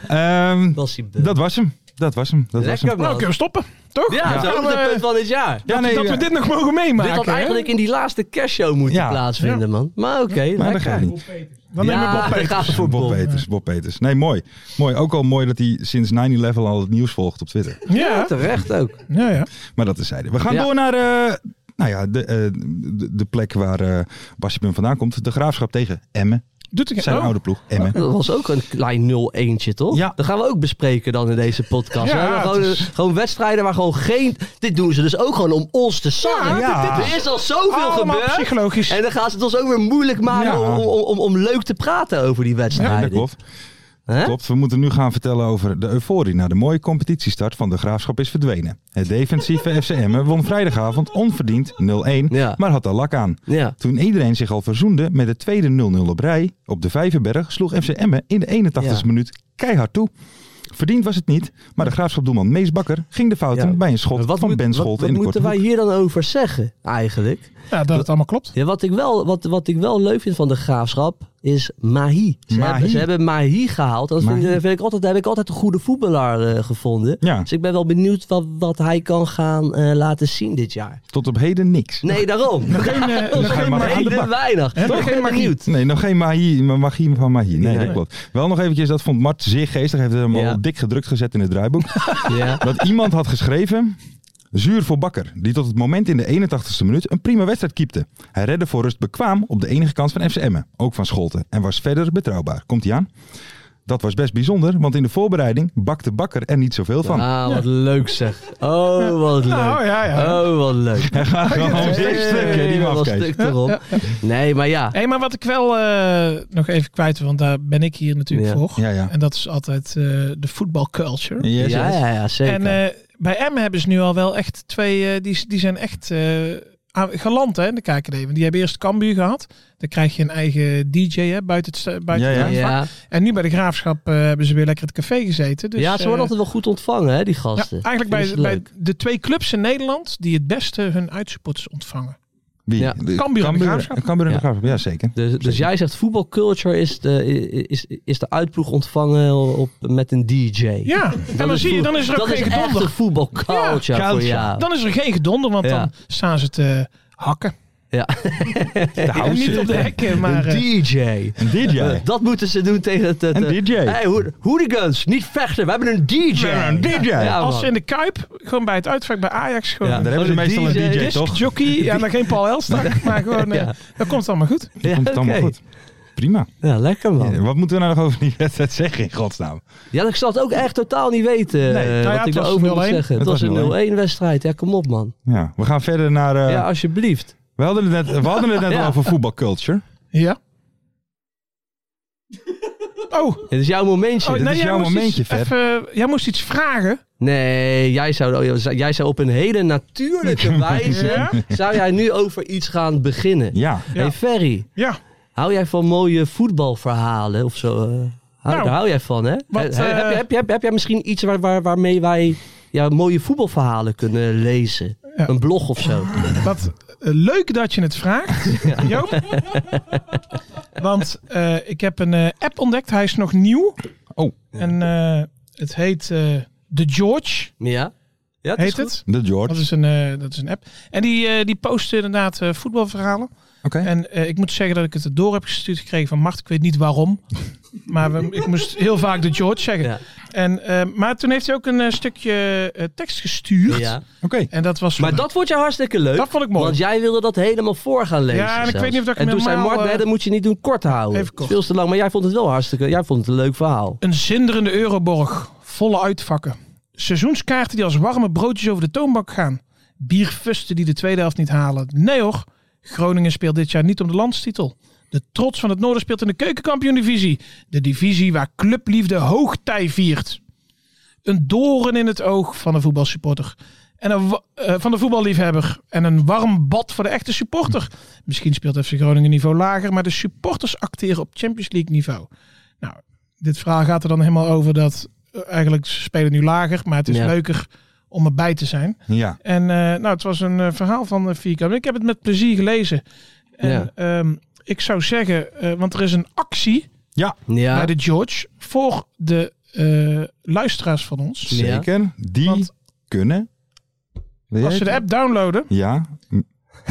Speaker 6: ja.
Speaker 4: Ehm,
Speaker 5: Bassie Bum.
Speaker 4: dat was hem. Dat was hem. Dat was hem.
Speaker 5: Lekker
Speaker 6: Nou,
Speaker 5: man.
Speaker 6: kunnen we stoppen, toch?
Speaker 5: Ja,
Speaker 6: Dan
Speaker 5: dat
Speaker 6: gaan
Speaker 5: is het
Speaker 6: we-
Speaker 5: punt van dit jaar.
Speaker 4: Ja, nee,
Speaker 6: dat we
Speaker 4: ja.
Speaker 6: dit nog mogen
Speaker 5: Dit had
Speaker 6: meemaken. hè?
Speaker 5: eigenlijk in die laatste kerstshow moeten
Speaker 4: Ja.
Speaker 5: plaatsvinden, man. Maar oké,
Speaker 4: Maar dat
Speaker 5: lekker.
Speaker 4: gaat niet.
Speaker 6: Dan nemen we
Speaker 5: ja,
Speaker 4: Ah,
Speaker 6: Bob
Speaker 5: dan
Speaker 6: Peters.
Speaker 5: gaan we voor
Speaker 4: Bob
Speaker 5: Bob.
Speaker 4: Peters, Bob Peters. Nee, mooi. mooi. Ook al mooi dat hij sinds 9-11 al het nieuws volgt op Twitter.
Speaker 6: Ja,
Speaker 5: Terecht ook.
Speaker 6: ja, ja.
Speaker 4: Maar dat is zijde. We gaan
Speaker 5: Ja.
Speaker 4: door naar eh, nou ja, de, eh, de, de plek waar eh Basje Pum vandaan komt. De Graafschap tegen Emmen.
Speaker 6: Doet het
Speaker 4: Zijn
Speaker 6: oh.
Speaker 4: oude ploeg, Emmen.
Speaker 5: Dat was ook een klein 0-1'tje, toch?
Speaker 4: Ja.
Speaker 5: Dat gaan we ook bespreken dan in deze podcast.
Speaker 6: Ja,
Speaker 5: hè?
Speaker 6: het
Speaker 5: Gewoon, eh,
Speaker 6: is-
Speaker 5: gewoon wedstrijden waar gewoon geen... Dit doen ze dus ook gewoon om ons te sarren.
Speaker 4: Ja, dit- dit
Speaker 5: Er is al zoveel
Speaker 6: Allemaal
Speaker 5: gebeurd.
Speaker 6: psychologisch.
Speaker 5: En dan gaan ze het ons ook weer moeilijk maken
Speaker 4: Ja.
Speaker 5: om, om, om, om leuk te praten over die
Speaker 4: Ja,
Speaker 5: wedstrijden.
Speaker 4: dat klopt.
Speaker 5: Hè?
Speaker 4: Klopt, we moeten nu gaan vertellen over de euforie na de mooie competitiestart van de Graafschap is verdwenen. Het defensieve FCM won vrijdagavond onverdiend 0-1,
Speaker 5: Ja.
Speaker 4: maar had er lak aan.
Speaker 5: Ja.
Speaker 4: Toen iedereen zich al verzoende met de tweede 0-0 op rij op de Vijverberg, sloeg FC Emmen in de 81ste
Speaker 5: Ja.
Speaker 4: minuut keihard toe. Verdiend was het niet, maar de Graafschap-doelman Mees Bakker ging de fouten
Speaker 5: Ja.
Speaker 4: bij een schot
Speaker 5: Maar wat
Speaker 4: van
Speaker 5: moet-
Speaker 4: Ben
Speaker 5: wat-
Speaker 4: Scholt
Speaker 5: wat
Speaker 4: in de korte
Speaker 5: moeten wij
Speaker 4: hoek.
Speaker 5: hier dan over zeggen, eigenlijk?
Speaker 6: Ja, dat het allemaal klopt.
Speaker 5: Ja, wat, ik wel, wat, wat ik wel leuk vind van de graafschap is Mahi. Ze,
Speaker 4: Mahi.
Speaker 5: Hebben, ze hebben Mahi gehaald. Dat vind,
Speaker 4: Mahi.
Speaker 5: vind ik altijd, heb ik altijd een goede voetballer eh, gevonden.
Speaker 4: Ja.
Speaker 5: Dus ik ben wel benieuwd wat, wat hij kan gaan eh, laten zien dit jaar.
Speaker 4: Tot op heden niks.
Speaker 5: Nee, daarom. Nog
Speaker 6: Geen, eh, nog
Speaker 4: geen
Speaker 6: geen
Speaker 4: Mahi. aan de bak.
Speaker 5: weinig.
Speaker 6: Hè, nog
Speaker 5: ik
Speaker 6: geen
Speaker 5: ben
Speaker 6: Mahi.
Speaker 5: benieuwd.
Speaker 4: Nee, nog geen magie, maar magie van magie. Nee,
Speaker 5: Nee.
Speaker 4: dat klopt. Wel nog eventjes, dat vond Mart zeer geestig. Heeft hem
Speaker 5: Ja.
Speaker 4: al dik gedrukt gezet in het draaiboek.
Speaker 5: Ja.
Speaker 4: dat iemand had geschreven... Zuur voor Bakker, die tot het moment in de 81ste minuut een prima wedstrijd kiepte. Hij redde voor rust bekwaam op de enige kant van FC Emmen, ook van Scholten, en was verder betrouwbaar. Komt hij aan? Dat was best bijzonder, want in de voorbereiding bakte Bakker er niet zoveel van.
Speaker 5: Ah, wat leuk zeg. Oh, wat leuk.
Speaker 6: Nou, ja, ja.
Speaker 5: Oh, wat leuk.
Speaker 6: Oh,
Speaker 4: Gewoon stuk, stuk, hè, die
Speaker 5: Hey, wat
Speaker 4: mafkees.
Speaker 5: stuk erop. Nee, maar ja.
Speaker 6: Hé, maar wat ik wel eh, nog even kwijt wil, want daar ben ik hier natuurlijk
Speaker 5: Ja.
Speaker 6: voor.
Speaker 4: Ja, ja.
Speaker 6: En dat is altijd eh, de voetbalculture.
Speaker 4: Yes,
Speaker 5: Ja,
Speaker 4: yes.
Speaker 5: ja, ja, zeker.
Speaker 6: En eh, bij Emmen hebben ze nu al wel echt twee, eh, die, die zijn echt eh, aan- geland hè, in de KKD. Want die hebben eerst Cambuur gehad. Dan krijg je een eigen DJ hè, buiten het, sta- buiten
Speaker 4: Ja,
Speaker 6: het
Speaker 4: ja.
Speaker 6: aanvak.
Speaker 5: ja.
Speaker 6: En nu bij de Graafschap eh, hebben ze weer lekker het café gezeten. Dus,
Speaker 5: ja, ze worden
Speaker 6: eh,
Speaker 5: altijd wel goed ontvangen, hè, die
Speaker 6: ja,
Speaker 5: gasten.
Speaker 6: eigenlijk
Speaker 5: Vinden ze
Speaker 6: bij, bij
Speaker 5: leuk.
Speaker 6: de twee clubs in Nederland die het beste hun uitsupporters ontvangen.
Speaker 4: Wie?
Speaker 5: Ja.
Speaker 4: De-
Speaker 6: Cambuur en de Graafschap.
Speaker 4: Cambuur en de
Speaker 5: Ja.
Speaker 4: Graafschap, ja zeker.
Speaker 5: Dus, dus jij zegt voetbalculture is de, is, is de uitploeg ontvangen op, met een DJ.
Speaker 6: Ja, en dan
Speaker 5: is
Speaker 6: zie je,
Speaker 5: voet-
Speaker 6: dan is er ook
Speaker 5: dat
Speaker 6: geen
Speaker 5: is echt
Speaker 6: gedonder.
Speaker 5: een voetbalculture
Speaker 4: Ja,
Speaker 5: voor
Speaker 4: culture.
Speaker 5: jou.
Speaker 6: Dan is er geen gedonder, want
Speaker 5: Ja.
Speaker 6: dan staan ze te hakken.
Speaker 5: Ja.
Speaker 6: En niet op de hekken, maar... eh,
Speaker 5: een DJ.
Speaker 4: Een DJ.
Speaker 5: Dat moeten ze doen tegen het... het
Speaker 4: Een
Speaker 5: eh,
Speaker 4: DJ.
Speaker 5: Hey, ho- hooligans, niet vechten. We hebben een DJ.
Speaker 4: We hebben een DJ.
Speaker 5: Ja,
Speaker 6: als
Speaker 5: man.
Speaker 6: ze in de Kuip, gewoon bij het uitvak bij Ajax, gewoon eh,
Speaker 5: Ja,
Speaker 4: Daar hebben ze
Speaker 5: Gewoon
Speaker 4: meestal een
Speaker 5: een DJ,
Speaker 4: DJ,
Speaker 5: disc
Speaker 4: toch?
Speaker 6: jockey, ja, dan geen Paul Elstak, maar gewoon, eh,
Speaker 5: Ja.
Speaker 6: dat komt allemaal goed.
Speaker 4: Dat
Speaker 5: Ja,
Speaker 4: komt het allemaal
Speaker 5: oké.
Speaker 4: goed. Prima.
Speaker 5: Ja, lekker man.
Speaker 4: Ja, Wat moeten we nou nog over die wedstrijd zeggen in godsnaam?
Speaker 5: Ja, ik zal het ook echt totaal niet weten eh,
Speaker 4: Nou
Speaker 6: ja,
Speaker 5: wat ik
Speaker 6: het was
Speaker 5: daarover moet
Speaker 6: 0-1.
Speaker 5: zeggen. Het
Speaker 4: Het
Speaker 5: was
Speaker 4: was
Speaker 5: een 0-1 wedstrijd. Ja, kom op man.
Speaker 4: Ja, we gaan verder naar... eh,
Speaker 5: Ja, alsjeblieft.
Speaker 4: we, hadden het net, we hadden het net
Speaker 5: Ja.
Speaker 4: al over voetbalculture.
Speaker 6: Ja. Oh,
Speaker 5: Dit is jouw momentje.
Speaker 6: oh,
Speaker 4: dit
Speaker 6: nee,
Speaker 4: is
Speaker 6: jij
Speaker 4: jouw
Speaker 6: moest
Speaker 4: momentje,
Speaker 6: iets,
Speaker 4: Fer.
Speaker 6: even- eh, jij moest iets vragen.
Speaker 5: Nee, jij zou, oh, jij- jij zou op een hele natuurlijke wijze...
Speaker 6: Ja?
Speaker 5: zou jij nu over iets gaan beginnen.
Speaker 4: Ja.
Speaker 5: Hey Ferry,
Speaker 6: Ja.
Speaker 5: hou jij van mooie voetbalverhalen of zo? eh? hou,
Speaker 6: Nou,
Speaker 5: daar hou jij van, hè?
Speaker 6: wat,
Speaker 5: He- he- heb,
Speaker 6: eh,
Speaker 5: je- heb, je- heb, heb jij misschien iets waar, waar, waarmee wij ja, mooie voetbalverhalen kunnen lezen?
Speaker 6: Ja.
Speaker 5: Een blog of zo?
Speaker 6: Wat eh, leuk dat je het vraagt, Joop. Want eh, ik heb een eh, app ontdekt. Hij is nog nieuw.
Speaker 4: Oh.
Speaker 6: En eh, het heet eh The George,
Speaker 5: Ja? ja het is
Speaker 6: heet
Speaker 5: goed.
Speaker 6: het.
Speaker 4: De George.
Speaker 6: Dat is, een, eh, dat is een app. En die, eh, die posten inderdaad eh, voetbalverhalen.
Speaker 4: Oké.
Speaker 6: En eh, ik moet zeggen dat ik het door heb gestuurd gekregen van Mart. Ik weet niet waarom. maar we- ik moest heel vaak de George zeggen.
Speaker 5: Ja.
Speaker 6: En, eh, maar toen heeft hij ook een eh, stukje eh, tekst gestuurd.
Speaker 5: Ja.
Speaker 4: Oké.
Speaker 6: En dat was
Speaker 5: Maar dat vond je hartstikke leuk.
Speaker 6: Dat vond ik mooi.
Speaker 5: Want jij wilde dat helemaal voor gaan lezen.
Speaker 6: Ja, en ik
Speaker 5: zelfs.
Speaker 6: weet niet of dat ik
Speaker 5: En
Speaker 6: hem
Speaker 5: toen zei
Speaker 6: helemaal,
Speaker 5: Mart, nee,
Speaker 6: eh,
Speaker 5: dat moet je niet doen, kort houden.
Speaker 6: Even kort.
Speaker 5: Veel te lang, maar jij vond het wel hartstikke... Jij vond het een leuk verhaal.
Speaker 6: Een zinderende Euroborg, volle uitvakken. Seizoenskaarten die als warme broodjes over de toonbank gaan. Bierfusten die de tweede helft niet halen. Nee hoor, Groningen speelt dit jaar niet om de landstitel. De trots van het Noorden speelt in de keukenkampioen-divisie. De divisie waar clubliefde hoogtij viert. Een doorn in het oog van de voetbalsupporter. En een wa- eh, van de voetballiefhebber. En een warm bad voor de echte supporter. Misschien speelt FC Groningen niveau lager, maar de supporters acteren op Champions League niveau. Nou, dit verhaal gaat er dan helemaal over dat eh, eigenlijk ze spelen nu lager, maar het is
Speaker 5: Ja.
Speaker 6: leuker om erbij te zijn.
Speaker 4: Ja.
Speaker 6: En eh, nou, het was een eh, verhaal van eh, vier kamers. Ik heb het met plezier gelezen. En
Speaker 5: Ja.
Speaker 6: ehm, ik zou zeggen, eh, want er is een actie
Speaker 4: Ja.
Speaker 5: Ja,
Speaker 6: bij de George voor de eh, luisteraars van ons.
Speaker 4: Zeker. Die
Speaker 6: Want-
Speaker 4: kunnen. Wil jij
Speaker 6: Als ze
Speaker 4: het?
Speaker 6: de app downloaden,
Speaker 4: Ja. M-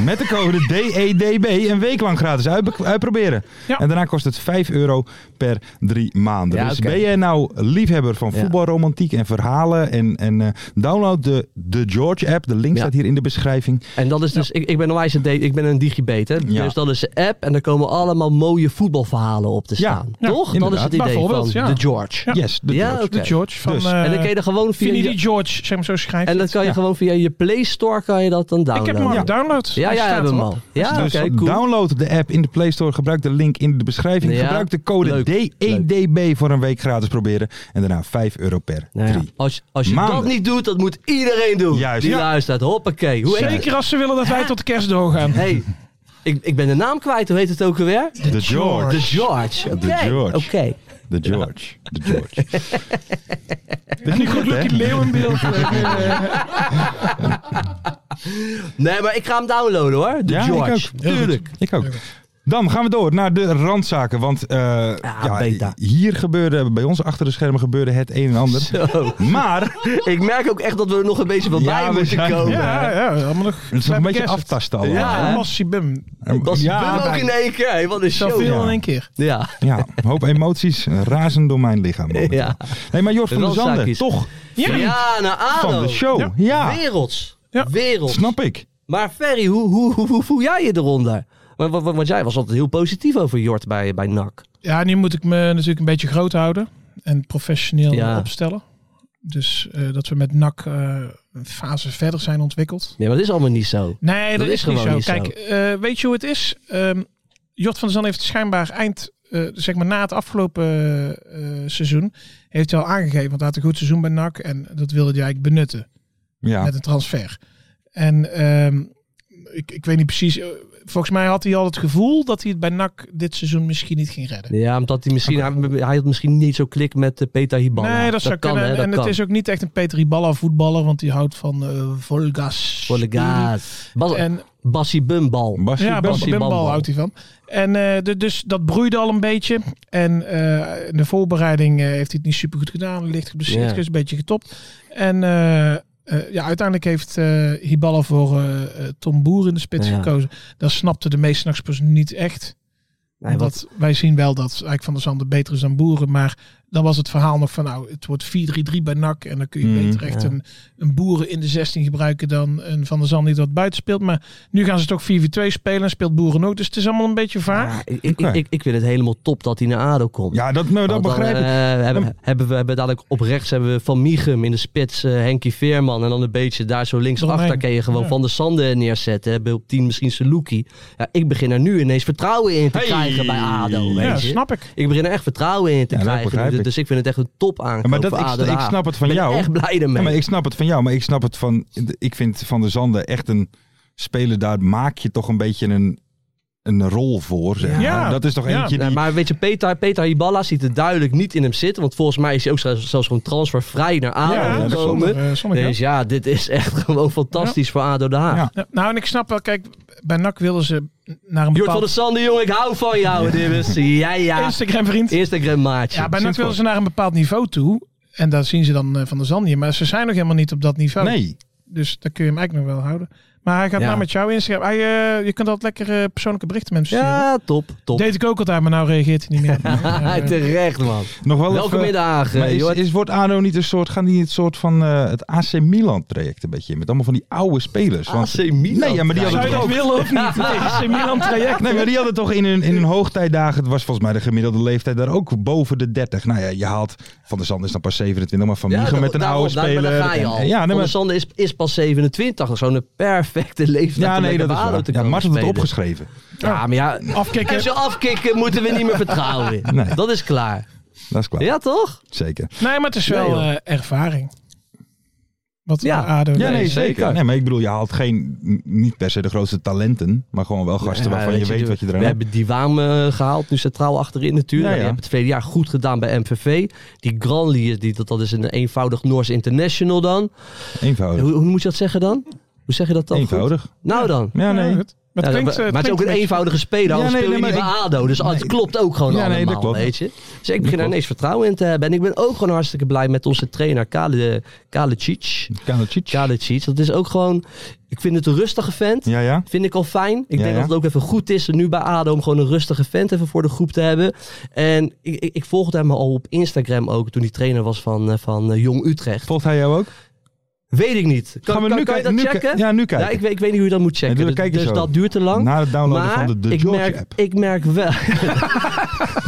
Speaker 4: Met de code DEDB een week lang gratis uitbe- uitproberen.
Speaker 6: Ja.
Speaker 4: En daarna kost het 5 euro per drie maanden.
Speaker 5: Ja,
Speaker 4: dus
Speaker 5: oké.
Speaker 4: ben jij nou liefhebber van
Speaker 5: Ja.
Speaker 4: voetbalromantiek en verhalen? En, en eh, download de, de George app. De link
Speaker 5: Ja.
Speaker 4: staat hier in de beschrijving.
Speaker 5: En dat is dus, ik, ik ben onwijs een, D- ik ben een digibate, hè?
Speaker 4: Ja.
Speaker 5: dus dat is de app en daar komen allemaal mooie voetbalverhalen op te
Speaker 4: Ja,
Speaker 5: staan.
Speaker 6: ja,
Speaker 5: Toch? Dat is
Speaker 4: inderdaad.
Speaker 5: het idee van
Speaker 6: Bijvoorbeeld, ja.
Speaker 5: de George.
Speaker 6: Ja.
Speaker 4: Yes, de
Speaker 5: Ja,
Speaker 4: George.
Speaker 5: oké.
Speaker 6: de George van
Speaker 4: Dus.
Speaker 6: eh,
Speaker 5: en dan kan je er gewoon via
Speaker 6: Vinnie
Speaker 5: je,
Speaker 6: die George, zeg maar zo schrijft.
Speaker 5: en dat kan je
Speaker 6: Ja.
Speaker 5: gewoon via je Play Store kan je dat dan
Speaker 4: Oh,
Speaker 6: Ik heb
Speaker 5: downloaden.
Speaker 6: hem al
Speaker 5: ja,
Speaker 6: gedownload.
Speaker 5: ja, jij
Speaker 6: Hij staat
Speaker 5: hebt hem
Speaker 6: erop.
Speaker 5: al. Ja,
Speaker 4: dus
Speaker 5: oké, cool.
Speaker 4: download de app in de Play Store. Gebruik de link in de beschrijving.
Speaker 5: Ja.
Speaker 4: Gebruik de code
Speaker 5: Leuk.
Speaker 4: DEDB voor een week gratis proberen. En daarna 5 euro per
Speaker 5: Nou ja,
Speaker 4: drie.
Speaker 5: Als, als je
Speaker 4: Maanden.
Speaker 5: dat niet doet, dat moet iedereen doen.
Speaker 4: Juist.
Speaker 5: Die
Speaker 4: Ja.
Speaker 5: luistert. Hoppakee. Hoe heet het?
Speaker 6: Zeker als ze willen dat wij tot kerst doorgaan.
Speaker 5: Hey, ik, ik ben de naam kwijt. Hoe heet het ook alweer?
Speaker 4: De
Speaker 5: De
Speaker 4: George.
Speaker 5: George. Oké.
Speaker 4: De George.
Speaker 5: Oké.
Speaker 4: De George. De George.
Speaker 6: En die goed Lucky Leeuw in beeld. Eh,
Speaker 5: Nee, maar ik ga hem downloaden hoor. De
Speaker 4: Ja, ik
Speaker 5: George.
Speaker 4: ook.
Speaker 5: Tuurlijk.
Speaker 4: Ik ook. Dan gaan we door naar de randzaken. Want eh, ja,
Speaker 5: Ah, beta.
Speaker 4: hier gebeurde, bij ons achter de schermen gebeurde het een en ander.
Speaker 5: Zo.
Speaker 4: Maar
Speaker 5: Ik merk ook echt dat we er nog een beetje van
Speaker 4: Ja,
Speaker 5: bij
Speaker 4: we
Speaker 5: moeten
Speaker 4: zijn-
Speaker 5: komen.
Speaker 6: Ja, ja, allemaal nog.
Speaker 4: het is nog een beetje aftasten allemaal.
Speaker 5: Ja.
Speaker 4: hè?
Speaker 6: Massie Bum.
Speaker 5: Dat is wel ook
Speaker 4: bij-
Speaker 5: in één keer. hè. Wat een show.
Speaker 6: Zoveel
Speaker 4: Ja.
Speaker 6: in één keer.
Speaker 5: Ja.
Speaker 4: ja, een hoop emoties razen door mijn lichaam. momenteel.
Speaker 5: Ja.
Speaker 4: Nee, maar Jort van der
Speaker 5: Randzaak
Speaker 4: Zanden,
Speaker 5: is-
Speaker 4: toch
Speaker 6: Ja.
Speaker 5: Ja, naar ADO.
Speaker 4: van de show. Ja,
Speaker 5: Werelds.
Speaker 6: Ja.
Speaker 5: Werelds.
Speaker 4: snap ik.
Speaker 5: Maar Ferry, hoe, hoe, hoe, hoe voel jij je eronder? Want, want, want jij was altijd heel positief over Jort bij, bij NAC.
Speaker 6: Ja, nu moet ik me natuurlijk een beetje groot houden en professioneel
Speaker 5: Ja.
Speaker 6: opstellen. Dus eh, dat we met NAC eh, een fase verder zijn ontwikkeld.
Speaker 5: Nee, maar dat is allemaal niet zo.
Speaker 6: Nee, dat,
Speaker 5: is
Speaker 6: is, niet
Speaker 5: gewoon
Speaker 6: zo.
Speaker 5: niet zo.
Speaker 6: Kijk, eh, weet je hoe het is? Ehm, Jort van der Zand heeft schijnbaar eind, eh, zeg maar na het afgelopen eh, seizoen, heeft hij al aangegeven, want hij had een goed seizoen bij NAC en dat wilde hij eigenlijk benutten
Speaker 4: Ja,
Speaker 6: met een transfer. En ehm, ik, ik weet niet precies, eh, volgens mij had hij al het gevoel dat hij het bij NAC dit seizoen misschien niet ging redden.
Speaker 5: Ja, omdat hij misschien, hij, hij had misschien niet zo klik met eh, Peter Hibana.
Speaker 6: Nee, dat, zou
Speaker 5: kan,
Speaker 6: kunnen.
Speaker 5: Hè, dat
Speaker 6: en
Speaker 5: kan.
Speaker 6: het is ook niet echt een Peter Iballa voetballer, want die houdt van eh Volgas.
Speaker 5: Voor de gaas. Bas,
Speaker 6: En
Speaker 5: Bassie Bumbal.
Speaker 4: Basje,
Speaker 6: ja, Bas
Speaker 4: Basje.
Speaker 5: Bambal.
Speaker 6: Bimbal houdt hij van. En eh, de- dus dat broeide al een beetje. En eh, in de voorbereiding eh, heeft hij het niet super goed gedaan. Licht geblesseerd,
Speaker 5: Ja.
Speaker 6: is een beetje getopt. En eh, eh, ja, uiteindelijk heeft eh Hiballa voor eh, eh, Tom Boer in de spits
Speaker 5: Ja.
Speaker 6: gekozen. Dat snapte de meeste nachtspers niet echt.
Speaker 5: Nee,
Speaker 6: omdat
Speaker 5: wat,
Speaker 6: Wij zien wel dat eigenlijk Van der Zanden beter is dan Boeren. Maar dan was het verhaal nog van nou, het wordt 4-3-3 bij NAC. En dan kun je
Speaker 4: Mhm,
Speaker 6: beter echt
Speaker 5: Mm, ja.
Speaker 6: een, een Boeren in de 16 gebruiken dan een Van der Zanden die wat buiten speelt. Maar nu gaan ze toch 4-4-2 spelen en speelt Boeren ook. Dus het is allemaal een beetje vaag.
Speaker 5: ja, ik, ik,
Speaker 4: Oké.
Speaker 5: ik, ik vind het helemaal top dat hij naar ADO komt.
Speaker 4: Ja, dat, nou, dat
Speaker 5: Want dan,
Speaker 4: begrijp ik.
Speaker 5: eh,
Speaker 4: Dan-
Speaker 5: hebben, hebben we hebben dadelijk op rechts hebben we Van Mieghem in de spits, eh Henkie Veerman. En dan een beetje daar zo links
Speaker 6: Eromheen.
Speaker 5: achter kan je gewoon
Speaker 6: Ja.
Speaker 5: Van der Sande neerzetten. Hebben we op 10 misschien Saluki. Ja, ik begin er nu ineens vertrouwen in te
Speaker 4: Hey.
Speaker 5: krijgen bij ADO.
Speaker 6: Ja,
Speaker 5: Weet je.
Speaker 6: snap ik.
Speaker 5: Ik begin er echt vertrouwen in te
Speaker 4: Ja, dat
Speaker 5: krijgen.
Speaker 4: begrijp ik.
Speaker 5: Dus, dus ik vind het echt een top aankoop
Speaker 4: Ja, maar dat,
Speaker 5: voor ADO.
Speaker 4: ik, ik snap het van
Speaker 5: ben
Speaker 4: jou.
Speaker 5: echt blij
Speaker 4: Ja,
Speaker 5: ermee.
Speaker 4: maar ik snap het van jou, maar ik snap het van. Ik vind Van der Zanden echt een speler. Daar maak je toch een beetje een, een rol voor. Zeg maar.
Speaker 6: Ja.
Speaker 4: Dat is toch
Speaker 6: Ja.
Speaker 4: eentje
Speaker 5: Ja,
Speaker 4: die.
Speaker 5: maar weet je, Peter, Peter Hiballa ziet het duidelijk niet in hem zitten. Want volgens mij is hij ook zelfs, zelfs gewoon transfervrij naar ADO
Speaker 6: Ja,
Speaker 4: dat
Speaker 5: gekomen.
Speaker 6: zonder, eh, zonder geld.
Speaker 5: dus ja, dit is echt gewoon fantastisch voor ADO Den Haag.
Speaker 4: Ja.
Speaker 6: Ja, Nou, en ik snap wel, kijk, bij NAC willen ze naar een
Speaker 5: Jort van der
Speaker 6: bepaald
Speaker 5: Sande, jongen, ik hou van jou. Dibbes. Ja, ja.
Speaker 6: Instagram vriend.
Speaker 5: Instagram maatje.
Speaker 6: Ja, bij NAC
Speaker 5: Simpel.
Speaker 6: willen ze naar een bepaald niveau toe. En daar zien ze dan eh, Van der Zanden hier. Maar ze zijn nog helemaal niet op dat niveau.
Speaker 4: Nee.
Speaker 6: Dus daar kun je hem eigenlijk nog wel houden. Maar hij gaat
Speaker 5: Ja.
Speaker 6: nou met jou Instagram. Hij, eh, je kunt altijd lekker eh, persoonlijke berichten met hem sturen.
Speaker 5: Ja, top, top.
Speaker 6: Deed ik ook altijd, maar nou reageert hij niet meer.
Speaker 5: Ja,
Speaker 6: Eh,
Speaker 5: Terecht, man.
Speaker 4: Nog wel
Speaker 5: Welke
Speaker 4: Oh, even-
Speaker 5: middag,
Speaker 4: maar
Speaker 5: eh,
Speaker 4: is,
Speaker 5: Jort.
Speaker 4: is, wordt Ado niet een soort. Gaan die het soort van. eh, het AC Milan traject een beetje in? Met allemaal van die oude spelers. Want,
Speaker 5: AC Milan
Speaker 4: Nee, ja, maar die
Speaker 6: Zou
Speaker 4: hadden
Speaker 6: je
Speaker 4: toch
Speaker 6: dat
Speaker 4: ook.
Speaker 6: willen of niet? Nee, AC Milan traject.
Speaker 4: Nee, maar die hadden toch in hun, in hun hoogtijdagen, het was volgens mij de gemiddelde leeftijd daar ook boven de 30. Nou ja, je haalt, Van der Zand is dan pas 27, maar Van
Speaker 5: Ja,
Speaker 4: Miegen
Speaker 5: da-
Speaker 4: met een
Speaker 5: daarom,
Speaker 4: oude
Speaker 5: daar- maar
Speaker 4: speler.
Speaker 5: Daar ga je
Speaker 4: En-
Speaker 5: al.
Speaker 4: en Ja, nee,
Speaker 5: Van der
Speaker 4: maar
Speaker 5: Sande is, is pas 27. Zo'n perfecte leeftijd
Speaker 4: Ja,
Speaker 5: om
Speaker 4: nee,
Speaker 5: lekker
Speaker 4: dat is
Speaker 5: bij ADO
Speaker 4: waar.
Speaker 5: te
Speaker 4: Ja,
Speaker 5: komen
Speaker 4: Mart had het
Speaker 5: spelen.
Speaker 4: opgeschreven. Oh,
Speaker 5: Ja, maar ja...
Speaker 6: Afkicken.
Speaker 5: Als je afkicken, moeten we niet meer vertrouwen.
Speaker 4: Nee.
Speaker 5: Dat is klaar.
Speaker 4: Dat is klaar.
Speaker 5: Ja, toch?
Speaker 4: Zeker.
Speaker 6: Nee, maar het is wel
Speaker 5: Nee, joh.
Speaker 6: eh, ervaring. Wat
Speaker 5: Ja.
Speaker 6: ja. ADO
Speaker 4: Ja, nee,
Speaker 5: Nee,
Speaker 4: zeker.
Speaker 5: zeker.
Speaker 4: Nee, maar ik bedoel, je haalt geen, n- niet per se de grootste talenten, maar gewoon wel gasten
Speaker 5: Ja,
Speaker 4: waarvan je weet wat je eraan
Speaker 5: We
Speaker 4: hebt.
Speaker 5: hebben die Waam eh, gehaald, nu centraal achterin natuurlijk. Nou,
Speaker 4: Ja,
Speaker 5: Die
Speaker 4: ja.
Speaker 5: hebben het tweede jaar goed gedaan bij MVV. Die Granli, die, dat, dat is een eenvoudig Noors international dan.
Speaker 4: Eenvoudig.
Speaker 5: Hoe, hoe moet je dat zeggen dan? Hoe zeg je dat dan? goed?
Speaker 4: Oh. Eenvoudig.
Speaker 5: Nou dan.
Speaker 4: Ja, nee.
Speaker 6: goed. Maar
Speaker 5: Ja,
Speaker 6: het
Speaker 5: dat-
Speaker 6: klinkt, eh,
Speaker 5: maar het is ook
Speaker 6: klinkt
Speaker 5: een
Speaker 6: beetje-
Speaker 5: eenvoudige speler. Anders
Speaker 4: Ja, nee,
Speaker 5: speel je
Speaker 4: nee,
Speaker 5: niet bij
Speaker 4: maar
Speaker 5: ADO. Dus het klopt ook gewoon
Speaker 4: Ja, nee, dat
Speaker 5: allemaal,
Speaker 4: klopt.
Speaker 5: weet je. Dus ik begin er ineens vertrouwen in te hebben. En ik ben ook gewoon hartstikke blij met onze trainer Kale- Kalecic.
Speaker 4: Kalicic.
Speaker 5: Kalecic. Dat is ook gewoon... Ik vind het een rustige vent.
Speaker 4: Ja, ja.
Speaker 5: Vind ik al fijn. Ik
Speaker 4: Ja,
Speaker 5: denk
Speaker 4: ja.
Speaker 5: dat het ook even goed is nu bij ADO om gewoon een rustige vent even voor de groep te hebben. En ik, ik, ik volgde hem al op Instagram ook toen hij trainer was van, eh, van eh, Jong Utrecht.
Speaker 4: Volgt hij jou ook?
Speaker 5: Weet ik niet. Kan,
Speaker 4: Gaan we
Speaker 5: kan,
Speaker 4: nu
Speaker 5: kan je
Speaker 4: kijken?
Speaker 5: dat
Speaker 4: Nu
Speaker 5: checken?
Speaker 4: ki- ja, nu kijken.
Speaker 5: ik, weet, ik weet niet hoe je dat moet checken.
Speaker 4: Ja, doe-
Speaker 5: Dus-
Speaker 4: kijk eens
Speaker 5: dus
Speaker 4: zo.
Speaker 5: dat duurt te lang.
Speaker 4: Na het downloaden
Speaker 5: maar
Speaker 4: van de, de
Speaker 5: ik,
Speaker 4: George
Speaker 5: merk,
Speaker 4: app.
Speaker 5: ik merk wel...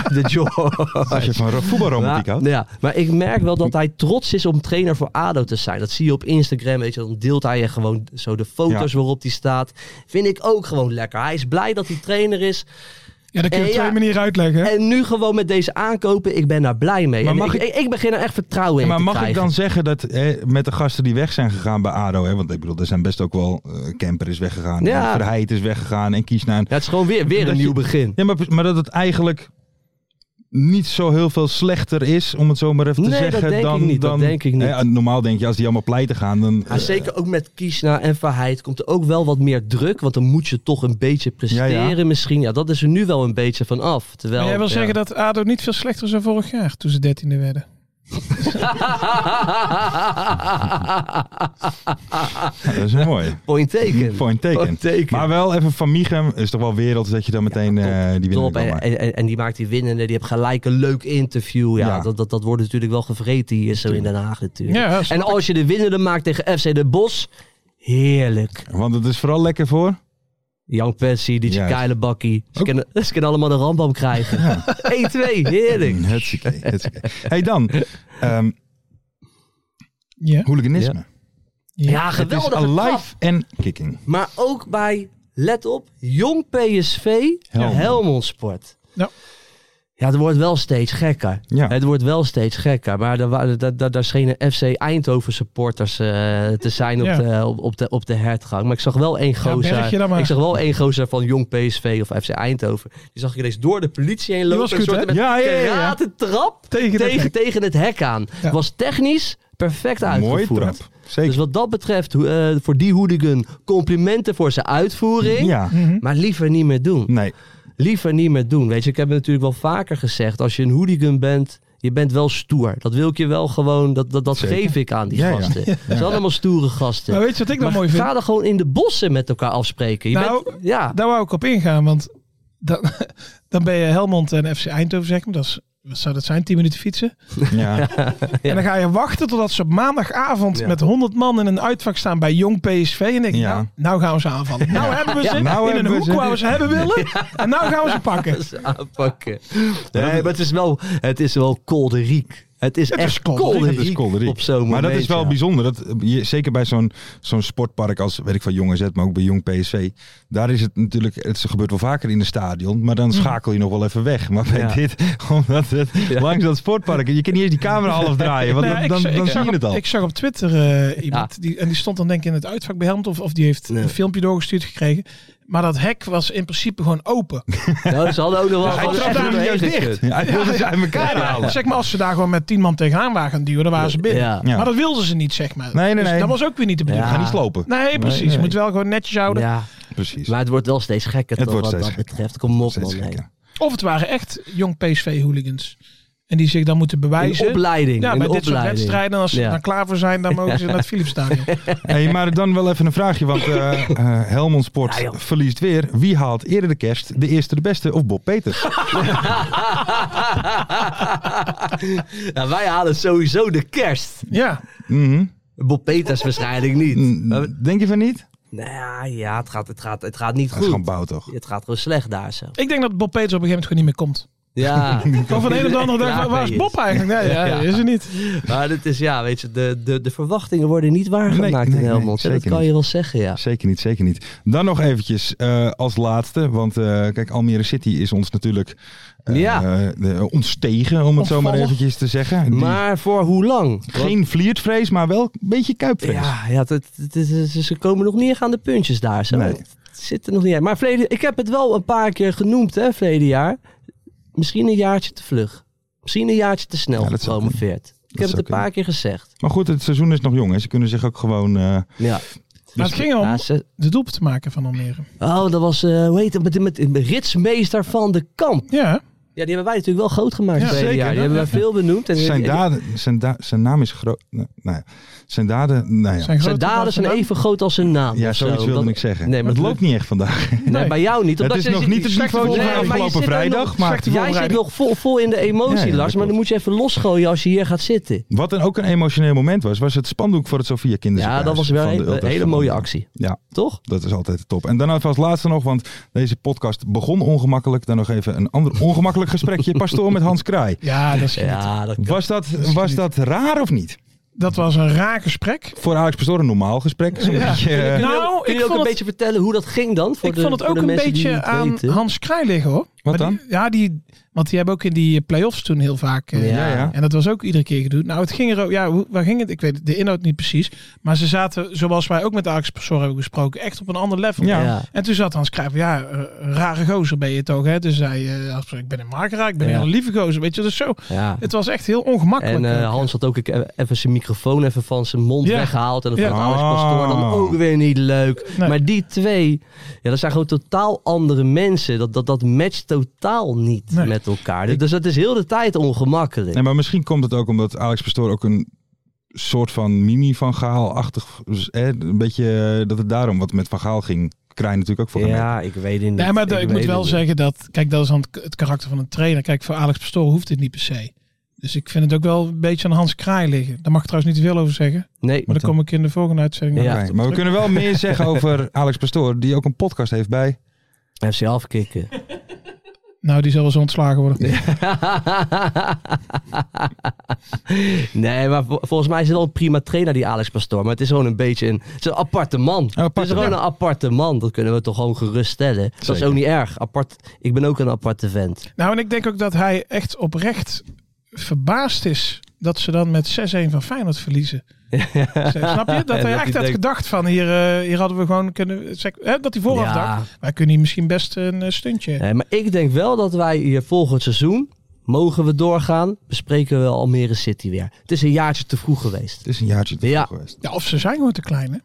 Speaker 5: de George.
Speaker 4: Als je van ro- voetbalromantiek
Speaker 5: Ja,
Speaker 4: houdt.
Speaker 5: ja, maar ik merk wel dat hij trots is om trainer voor ADO te zijn. Dat zie je op Instagram, weet je. Dan deelt hij je gewoon zo de foto's waarop hij staat. Vind ik ook gewoon lekker. Hij is blij dat hij trainer is.
Speaker 6: Ja, dat kun je op
Speaker 5: Eh,
Speaker 6: twee
Speaker 5: ja.
Speaker 6: manieren uitleggen. hè?
Speaker 5: En nu gewoon met deze aankopen, ik ben daar blij mee.
Speaker 4: Maar
Speaker 5: En
Speaker 4: mag
Speaker 5: ik, ik, ik begin er echt vertrouwen in
Speaker 4: maar
Speaker 5: te
Speaker 4: mag ik
Speaker 5: krijgen.
Speaker 4: dan zeggen dat hè, met de gasten die weg zijn gegaan bij ADO, hè, want ik bedoel, er zijn best ook wel, eh, Kemper is weggegaan,
Speaker 5: Ja.
Speaker 4: en Verheid is weggegaan en Kiesnaam.
Speaker 5: Ja, het is gewoon weer, weer
Speaker 4: Dat
Speaker 5: een
Speaker 4: je-
Speaker 5: nieuw begin.
Speaker 4: Ja, maar, maar dat het eigenlijk niet zo heel veel slechter is, om het zo maar even te
Speaker 5: Nee, dat
Speaker 4: zeggen.
Speaker 5: denk ik
Speaker 4: dan,
Speaker 5: niet, dat
Speaker 4: dan,
Speaker 5: denk ik niet.
Speaker 4: Hè, normaal denk je, als die allemaal pleiten gaan, dan...
Speaker 5: Ja, zeker ook met Kiesna en Verheid komt er ook wel wat meer druk. Want dan moet je toch een beetje presteren
Speaker 4: Ja, ja.
Speaker 5: misschien. Ja, dat is er nu wel een beetje van af. Terwijl,
Speaker 6: Maar jij wil
Speaker 5: ja.
Speaker 6: zeggen dat ADO niet veel slechter is dan vorig jaar, toen ze dertiende werden.
Speaker 4: Ja, dat is mooi.
Speaker 5: Point taken.
Speaker 4: Point taken.
Speaker 5: Point taken.
Speaker 4: Maar wel even van Michem, is toch wel wereld dat je dan meteen eh, die winnen
Speaker 5: Top,
Speaker 4: kan
Speaker 5: en,
Speaker 4: maken.
Speaker 5: en, en die maakt die winnende, die heeft gelijk een leuk interview. Ja,
Speaker 4: Ja.
Speaker 5: Dat, dat, dat wordt natuurlijk wel gevreten hier zo in Den Haag natuurlijk.
Speaker 6: Ja,
Speaker 5: en als je de winnende maakt tegen FC De Bos, heerlijk.
Speaker 4: Want het is vooral lekker voor...
Speaker 5: Young Patsy, DJ
Speaker 4: Juist.
Speaker 5: Keile Bakkie. Ze kunnen, ze kunnen allemaal een rambam krijgen. 1-2, heerlijk.
Speaker 4: Mm, Hetzieke, hetzieke. hey dan, ehm
Speaker 6: Ja.
Speaker 4: hooliganisme.
Speaker 5: Ja,
Speaker 4: Het is
Speaker 5: geweldig.
Speaker 4: alive en kicking.
Speaker 5: Maar ook bij, let op, jong PSV,
Speaker 4: Helmond.
Speaker 5: Helmond Sport.
Speaker 6: Ja.
Speaker 5: Ja, het wordt wel steeds gekker.
Speaker 4: Ja.
Speaker 5: Het wordt wel steeds gekker. Maar daar, wa- daar, daar, daar schenen FC Eindhoven supporters eh, te zijn op,
Speaker 6: Ja.
Speaker 5: de, op, op de, op de hertgang. Maar ik zag wel één
Speaker 6: berg
Speaker 5: gozer.
Speaker 6: je dan maar.
Speaker 5: ik zag wel één gozer van jong PSV of FC Eindhoven. Die zag ik ineens door de politie heen lopen.
Speaker 6: was
Speaker 5: en
Speaker 6: goed,
Speaker 5: soort
Speaker 6: hè?
Speaker 5: met
Speaker 4: Ja, ja, ja, ja.
Speaker 5: trap tegen,
Speaker 6: Tegen het
Speaker 5: tegen,
Speaker 6: hek.
Speaker 5: het hek aan.
Speaker 6: Ja.
Speaker 5: Was technisch perfect
Speaker 4: Mooie
Speaker 5: uitgevoerd.
Speaker 4: trap.
Speaker 5: Dus
Speaker 4: Zeker.
Speaker 5: wat dat betreft, hoe, eh, voor die hooligan, complimenten voor zijn uitvoering.
Speaker 4: ja.
Speaker 5: Maar liever niet meer doen.
Speaker 4: Nee.
Speaker 5: Liever niet meer doen. Weet je, ik heb het natuurlijk wel vaker gezegd. Als je een hooligan bent, je bent wel stoer. Dat wil ik je wel gewoon, dat, dat, dat
Speaker 4: Zeker.
Speaker 5: geef ik aan die
Speaker 4: Ja, ja.
Speaker 5: gasten. Het zijn allemaal stoere gasten.
Speaker 6: Maar weet je wat ik dan mooi vind?
Speaker 5: ga dan gewoon in de bossen met elkaar afspreken. Je
Speaker 6: Nou,
Speaker 5: bent, ja.
Speaker 6: Daar wou ik op ingaan, want dan, dan ben je Helmond en FC Eindhoven, zeg maar. Dat is, wat zou dat zijn? 10 minuten fietsen.
Speaker 4: Ja.
Speaker 6: En dan ga je wachten totdat ze op maandagavond
Speaker 5: Ja.
Speaker 6: met 100 man in een uitvak staan bij jong PSV. En denk je,
Speaker 4: Ja.
Speaker 6: nou, nou gaan we ze aanvallen. Nou hebben we ze
Speaker 4: Nou
Speaker 6: in
Speaker 4: hebben
Speaker 6: een
Speaker 4: we
Speaker 6: hoek
Speaker 4: ze.
Speaker 6: waar we ze hebben willen. En nou gaan we ze pakken.
Speaker 5: Eens aanpakken. Nee, maar het is wel, het is wel kolderiek. Het is
Speaker 6: is
Speaker 5: echt
Speaker 6: kolderiek.
Speaker 4: Het is
Speaker 5: kolderiek
Speaker 4: kolderiek.
Speaker 5: op zo'n
Speaker 4: Maar dat is
Speaker 5: moment,
Speaker 4: wel
Speaker 5: ja.
Speaker 4: bijzonder. Dat, eh, je, zeker bij zo'n zo'n sportpark als, weet ik van Jong AZ, maar ook bij Jong PSV. Daar is het natuurlijk, het gebeurt wel vaker in het stadion. Maar dan schakel je nog wel even weg. Maar bij
Speaker 5: Hmm. Ja.
Speaker 4: dit, omdat het langs dat sportpark, je kan niet eens die camera half draaien. Want
Speaker 6: Nou ja,
Speaker 4: dan,
Speaker 6: ik,
Speaker 4: dan,
Speaker 6: z-
Speaker 4: dan zie
Speaker 6: ik, zag
Speaker 4: je het
Speaker 6: op,
Speaker 4: al.
Speaker 6: ik zag op Twitter eh, iemand die, en die stond dan denk ik in het uitvak bij Helmond of, of die heeft
Speaker 5: Nee.
Speaker 6: een filmpje doorgestuurd gekregen. Maar dat hek was in principe gewoon open.
Speaker 5: Nou, ze hadden ook nog wel gewoon
Speaker 6: trapt
Speaker 5: echt
Speaker 6: daar
Speaker 5: doorheen
Speaker 6: juist dicht.
Speaker 5: gekund.
Speaker 4: Ja, hij wilde ze uit elkaar halen.
Speaker 6: Zeg maar als ze daar gewoon met tien man tegenaan waren gaan duwen, dan waren ze binnen.
Speaker 5: Ja.
Speaker 4: Ja.
Speaker 6: Maar dat wilden ze niet, zeg maar.
Speaker 4: Nee, nee,
Speaker 6: Dus
Speaker 4: nee.
Speaker 6: dat was ook weer niet de
Speaker 4: We
Speaker 6: bedoeling.
Speaker 4: gaan niet slopen.
Speaker 6: Nee, precies.
Speaker 4: nee.
Speaker 6: Je moet wel gewoon netjes houden.
Speaker 5: Ja,
Speaker 4: Precies.
Speaker 5: maar het wordt wel steeds gekker
Speaker 4: Het
Speaker 5: toch,
Speaker 4: wordt
Speaker 5: wat
Speaker 4: steeds
Speaker 5: dat betreft. Kom op
Speaker 4: Steeds
Speaker 5: man. hey.
Speaker 4: gekker.
Speaker 6: Of het waren echt jong PSV-hooligans. En die zich dan moeten
Speaker 5: In
Speaker 6: bewijzen.
Speaker 5: opleiding.
Speaker 6: ja,
Speaker 5: in
Speaker 6: bij dit soort
Speaker 5: opleiding.
Speaker 6: wedstrijden. Als ze
Speaker 5: Ja.
Speaker 6: dan klaar voor zijn, dan mogen ze naar het Philipsstadion.
Speaker 4: Hey, maar dan wel even een vraagje, want eh, eh, Helmond Sport
Speaker 5: Ja, joh.
Speaker 4: verliest weer. Wie haalt eerder de kerst, de eerste de beste of Bob Peters?
Speaker 5: nou, wij halen sowieso de kerst.
Speaker 6: ja.
Speaker 4: Mhm.
Speaker 5: Bob Peters waarschijnlijk niet. Maar-
Speaker 4: Mm, Denk je van niet?
Speaker 5: nou ja, het gaat, het gaat, het gaat niet
Speaker 4: Dat is
Speaker 5: goed.
Speaker 4: gewoon bouw toch?
Speaker 5: Het gaat gewoon slecht daar zo.
Speaker 6: Ik denk dat Bob Peters op een gegeven moment gewoon niet meer komt.
Speaker 5: Ja,
Speaker 6: Gewoon van de een op de andere dag, waar- waar is Bob eigenlijk? Nee, ja,
Speaker 5: Ja. Dus
Speaker 6: is er niet.
Speaker 5: maar dit is, ja, weet je, de, de, de verwachtingen worden niet waargemaakt
Speaker 4: Nee, nee, nee,
Speaker 5: in Helmond. hè. dat
Speaker 4: zeker
Speaker 5: kan
Speaker 4: niet.
Speaker 5: je wel zeggen, ja.
Speaker 4: Zeker niet, zeker niet. Dan nog eventjes eh, als laatste, want eh, kijk, Almere City is ons natuurlijk eh,
Speaker 5: Ja.
Speaker 4: de- ontstegen, om het zo maar
Speaker 6: Ontvallen.
Speaker 4: eventjes te zeggen. Die-
Speaker 5: Maar voor hoe lang? Want-
Speaker 4: geen vliertvrees, maar wel een beetje kuipvrees.
Speaker 5: Ja, ja het- het- het is- het is- ze komen nog niet aan de puntjes daar. Zo.
Speaker 4: Nee.
Speaker 5: Het zit er nog niet uit. Maar verleden, ik heb het wel een paar keer genoemd, hè, verleden jaar. Misschien een jaartje te vlug. Misschien een jaartje te snel
Speaker 4: Ja, dat zou
Speaker 5: gepromoveerd. Ik heb
Speaker 4: zou
Speaker 5: het een
Speaker 4: kunnen.
Speaker 5: paar keer gezegd.
Speaker 4: Maar goed, het seizoen is nog jong. Hè. Ze kunnen zich ook gewoon eh,
Speaker 5: Ja.
Speaker 6: Maar het ging om
Speaker 5: Ah, ze-
Speaker 6: de doelpunt te maken van Almere.
Speaker 5: oh, dat was, eh, hoe heet het, met, met, met Ritsmeester van de Kamp.
Speaker 6: Ja,
Speaker 5: Ja, die hebben wij natuurlijk wel groot gemaakt
Speaker 6: Ja,
Speaker 5: het hele
Speaker 4: zeker,
Speaker 5: jaar. Die
Speaker 4: dat-
Speaker 5: hebben wij veel benoemd. En,
Speaker 4: Zijn
Speaker 5: en-
Speaker 4: daden, zijn, da- zijn naam is groot. Nou, nou ja. Zijn daden, nou ja.
Speaker 6: zijn,
Speaker 5: zijn daden zijn even groot als zijn naam.
Speaker 4: Ja,
Speaker 5: of zo.
Speaker 4: zoiets wilde
Speaker 5: Dat-
Speaker 4: ik zeggen.
Speaker 5: Nee, maar
Speaker 4: het
Speaker 5: dat
Speaker 4: loopt niet echt vandaag.
Speaker 5: Nee,
Speaker 6: Nee.
Speaker 5: bij jou niet.
Speaker 4: het
Speaker 5: Omdat
Speaker 4: is
Speaker 5: je-
Speaker 4: nog
Speaker 5: je-
Speaker 4: niet het
Speaker 6: slechte
Speaker 4: niveau van
Speaker 6: voorbereiding. Nee, maar je
Speaker 4: afgelopen
Speaker 5: zit er
Speaker 4: vrijdag.
Speaker 5: nog-
Speaker 4: Maar
Speaker 6: slechte
Speaker 5: Jij zit
Speaker 6: voorbereiding.
Speaker 5: nog vol, vol in de emotie,
Speaker 4: Ja, ja, dat
Speaker 5: Lars. Maar
Speaker 4: klopt.
Speaker 5: dan moet je even losgooien als je hier gaat zitten.
Speaker 4: wat een, ook een emotioneel moment was, was het spandoek voor het Sofia Kinderziekenhuis.
Speaker 5: Ja, dat was wel
Speaker 4: van de
Speaker 5: een, een
Speaker 4: ultras
Speaker 5: hele
Speaker 4: van
Speaker 5: mooie
Speaker 4: Almere.
Speaker 5: actie.
Speaker 4: Ja,
Speaker 5: Toch?
Speaker 4: dat is altijd top. En dan even als laatste nog, want deze podcast begon ongemakkelijk. Dan nog even een ander ongemakkelijk gesprekje. Pastoor met Hans Kraai.
Speaker 6: Ja, dat, is,
Speaker 5: Ja, dat
Speaker 6: Nou,
Speaker 5: kan.
Speaker 4: Was dat, was dat raar of niet?
Speaker 6: dat was een raar gesprek.
Speaker 4: Voor Alex Pastoor een normaal gesprek. Zo'n beetje, eh,
Speaker 6: Nou,
Speaker 5: Kun
Speaker 6: ik
Speaker 5: je ook een
Speaker 6: vond het,
Speaker 5: beetje vertellen hoe dat ging dan? Voor
Speaker 6: ik
Speaker 5: de,
Speaker 6: vond het
Speaker 5: voor
Speaker 6: ook
Speaker 5: de
Speaker 6: een
Speaker 5: mensen die
Speaker 6: beetje
Speaker 5: niet
Speaker 6: aan
Speaker 5: weten?
Speaker 6: Hans Krij liggen hoor.
Speaker 4: Wat
Speaker 6: Maar
Speaker 4: dan?
Speaker 6: Die, ja, die, want die hebben ook in die play-offs toen heel vaak... eh,
Speaker 5: Ja,
Speaker 4: ja.
Speaker 6: En dat was ook iedere keer gedoe. Nou, het ging er ook... Ja, hoe- waar ging het? Ik weet de inhoud niet precies. Maar ze zaten, zoals wij ook met Alex Pastoor hebben gesproken, echt op een ander level.
Speaker 4: Ja.
Speaker 5: Ja.
Speaker 6: En toen zat Hans Cruijff, ja, eh, een rare gozer ben je toch, hè? Dus hij, eh, Hans zei, ik ben een makeraar, ik ben
Speaker 5: Ja.
Speaker 6: een hele lieve gozer, weet je, dus zo.
Speaker 5: Ja.
Speaker 6: Het was echt heel ongemakkelijk.
Speaker 5: En eh, Hans had ook e- even zijn microfoon even van zijn mond
Speaker 6: Ja.
Speaker 5: weggehaald. En dat
Speaker 6: Ja. Oh.
Speaker 5: vond Alex Pastoor dan
Speaker 4: Ah.
Speaker 5: ook weer niet leuk.
Speaker 6: Nee.
Speaker 5: Maar die twee, ja, dat zijn gewoon totaal andere mensen. Dat, dat, dat matcht totaal niet
Speaker 6: Nee.
Speaker 5: met elkaar. Dus dat is heel de tijd ongemakkelijk.
Speaker 4: Nee, maar misschien komt het ook omdat Alex Pastoor ook een soort van mini Van Gaal-achtig... dus, hè, een beetje eh, dat het daarom wat met Van Gaal ging. Kraai natuurlijk ook voor hem.
Speaker 5: ja, ik weet het niet.
Speaker 6: nee, maar de- ik, moet
Speaker 5: weet
Speaker 6: wel
Speaker 5: het niet.
Speaker 6: zeggen dat, kijk, dat is dan het, het karakter van een trainer. Kijk, voor Alex Pastoor hoeft dit niet per se. Dus ik vind het ook wel een beetje aan Hans Kraai liggen. Daar mag ik trouwens niet te veel over zeggen.
Speaker 5: Nee,
Speaker 6: Maar daar kom ik in de volgende uitzending
Speaker 5: Ja.
Speaker 6: nog
Speaker 4: Oké,
Speaker 6: even op
Speaker 4: maar we
Speaker 6: terug.
Speaker 4: kunnen wel meer zeggen over Alex Pastoor, die ook een podcast heeft bij.
Speaker 5: FC afkicken.
Speaker 6: Nou, die zal wel zo ontslagen worden.
Speaker 5: nee, maar vol- volgens mij is het wel een prima trainer, die Alex Pastoor. Maar het is gewoon een beetje een, het is een aparte man.
Speaker 4: aparte
Speaker 5: het is gewoon
Speaker 4: man.
Speaker 5: een aparte man. Dat kunnen we toch gewoon geruststellen. Dat is
Speaker 4: Zeker.
Speaker 5: ook niet erg. Apart, ik ben ook een aparte vent.
Speaker 6: Nou, en ik denk ook dat hij echt oprecht verbaasd is dat ze dan met 6-1 van Feyenoord verliezen. Snap je? Dat
Speaker 5: hij
Speaker 6: hij echt had
Speaker 5: denkt-
Speaker 6: gedacht van hier, eh, hier hadden we gewoon kunnen... zeg- hè, dat hij vooraf
Speaker 5: Ja.
Speaker 6: dacht, wij kunnen hier misschien best een eh, stuntje...
Speaker 5: Nee, maar ik denk wel dat wij hier volgend seizoen, mogen we doorgaan, bespreken we Almere City weer. Het is een jaartje te vroeg geweest.
Speaker 4: Het is een jaartje te
Speaker 5: Ja.
Speaker 4: vroeg geweest.
Speaker 6: Ja, of ze zijn gewoon te klein, hè?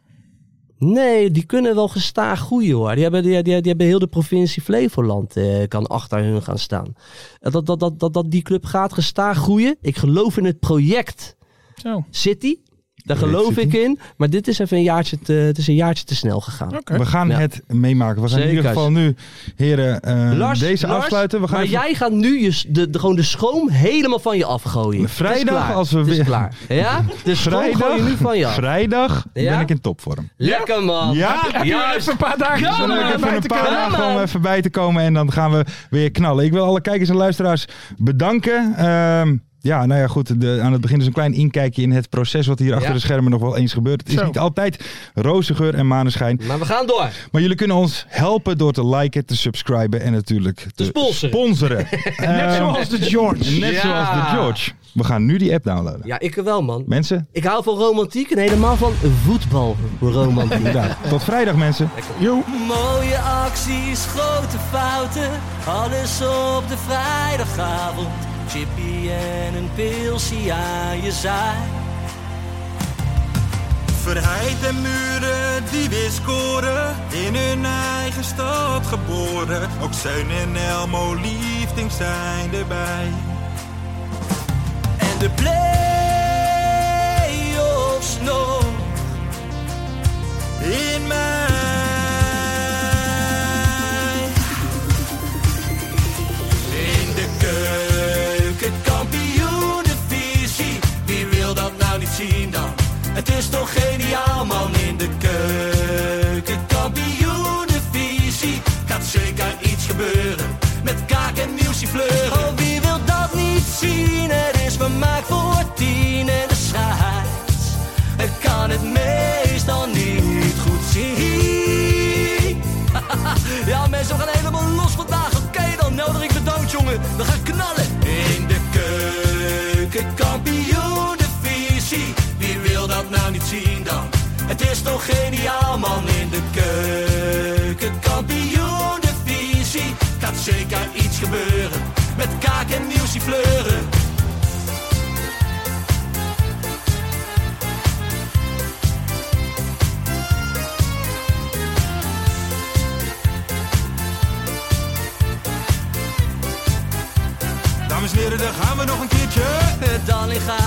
Speaker 5: Nee, die kunnen wel gestaag groeien hoor. Die hebben, die, die, die hebben heel de provincie Flevoland eh, kan achter hun gaan staan. Eh, Dat, dat, dat, dat, dat die club gaat gestaag groeien. Ik geloof in het project
Speaker 6: Zo, oké.
Speaker 5: City. Daar
Speaker 4: Project
Speaker 5: geloof
Speaker 4: City.
Speaker 5: ik in. Maar dit is even een jaartje te, het is een jaartje te snel gegaan.
Speaker 4: We gaan
Speaker 5: Ja.
Speaker 4: het meemaken. We gaan in
Speaker 5: Zeker.
Speaker 4: ieder geval nu, heren, eh,
Speaker 5: Lars,
Speaker 4: deze
Speaker 5: Lars,
Speaker 4: afsluiten. We gaan
Speaker 5: maar
Speaker 4: even-
Speaker 5: jij gaat nu je, s- de, de- gewoon de schoom helemaal van je afgooien.
Speaker 4: Vrijdag,
Speaker 5: Het is klaar.
Speaker 4: als we
Speaker 5: Het is
Speaker 4: weer-
Speaker 5: klaar. Ja? De schoom gooi je nu van je af.
Speaker 4: vrijdag
Speaker 5: Ja?
Speaker 4: ben ik in topvorm.
Speaker 5: Lekker man.
Speaker 4: Ja,
Speaker 5: Juist.
Speaker 6: Even een paar dagen.
Speaker 5: Ja,
Speaker 6: om,
Speaker 4: Dan heb
Speaker 6: eh,
Speaker 4: ik even
Speaker 6: bij
Speaker 4: een
Speaker 6: te
Speaker 4: paar
Speaker 6: komen.
Speaker 4: dagen
Speaker 5: man.
Speaker 4: om even bij te komen en dan gaan we weer knallen. Ik wil alle kijkers en luisteraars bedanken. Ehm, ja, nou ja, goed. De, aan het begin is een klein inkijkje in het proces wat hier achter
Speaker 5: Ja.
Speaker 4: de schermen nog wel eens gebeurt. Het is
Speaker 6: Zo.
Speaker 4: niet altijd roze geur en maneschijn.
Speaker 5: Maar we gaan door.
Speaker 4: Maar jullie kunnen ons helpen door te liken, te subscriben en natuurlijk te
Speaker 5: sponsoren.
Speaker 4: Ehm,
Speaker 6: Net zoals de George.
Speaker 4: net
Speaker 5: Ja.
Speaker 4: zoals de George. We gaan nu die app downloaden.
Speaker 5: Ja, ik wel man.
Speaker 4: Mensen,
Speaker 5: Ik hou van romantiek en helemaal van voetbalromantiek.
Speaker 4: inderdaad. Tot vrijdag mensen.
Speaker 2: Mooie acties, grote fouten, alles op de vrijdagavond. Chippy en een pilsie aan je zaai.
Speaker 3: Verheid en muren die weer scoren, in hun eigen stad geboren. Ook Zijn en Elmo liefdings zijn erbij.
Speaker 2: En de play-offs nog in mij. In de keuken, kampioen, Wie wil dat nou niet zien dan? Het is toch geniaal man in de keuken, kampioen, Gaat zeker iets gebeuren met kaak en nieuwsje fleuren. Oh, wie wil dat niet zien? Het is vermaakt voor tien en de scheids. Ik kan het meestal niet goed zien. Ja, mensen, we gaan helemaal los vandaag. Oké, dan nodig ik de dood, jongen. We gaan knallen. In de keuken, kampioen, de visie. Wie wil dat nou niet zien dan? Het is toch geniaal, man. In de keuken, kampioen, de visie. Gaat zeker iets gebeuren. Met kaak en nieuwsie fleuren.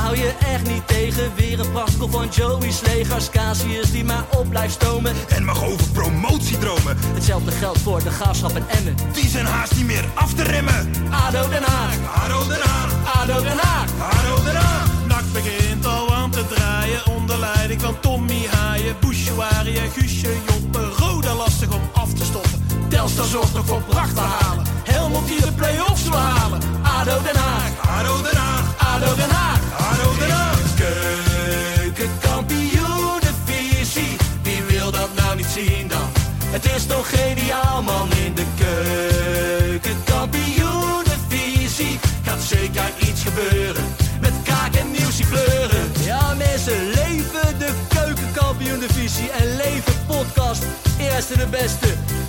Speaker 2: hou je echt niet tegen. Weer een prachtkel van Joey's legers. Casius die maar op blijft stomen.
Speaker 3: En mag over promotiedromen.
Speaker 2: Hetzelfde geldt voor de gaafschap en Emmen.
Speaker 3: Die zijn haast niet meer af te remmen.
Speaker 2: ADO Den Haag,
Speaker 3: Haro Den Haag,
Speaker 2: ADO Den Haag.
Speaker 3: Haro Den Haag.
Speaker 6: NAC begint al aan te draaien onder leiding van Tommy Haaien, Bouchouari en Guusje Joppen. Roda lastig om af te stoppen.
Speaker 2: Telstar zorgt nog voor pracht te halen. Helmond die de play-offs wil halen. ADO Den Haag,
Speaker 3: Haro Den Haag,
Speaker 2: ADO Den Haag.
Speaker 3: Haro Den Haag.
Speaker 2: Keukenkampioenenvisie, wie wil dat nou niet zien dan? Het is toch geniaal man in de keukenkampioenenvisie. Gaat zeker iets gebeuren, met kaak en nieuwsie kleuren. Ja mensen, leven de keukenkampioenenvisie en leven podcast. Eerste de beste.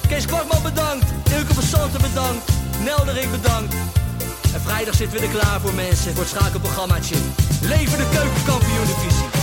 Speaker 2: Kees Kortman bedankt, Ilke van Santen bedankt, Nelderik bedankt. En vrijdag zitten we er klaar voor mensen, voor het schakelprogrammaatje. Leven de keukenkampioen divisie.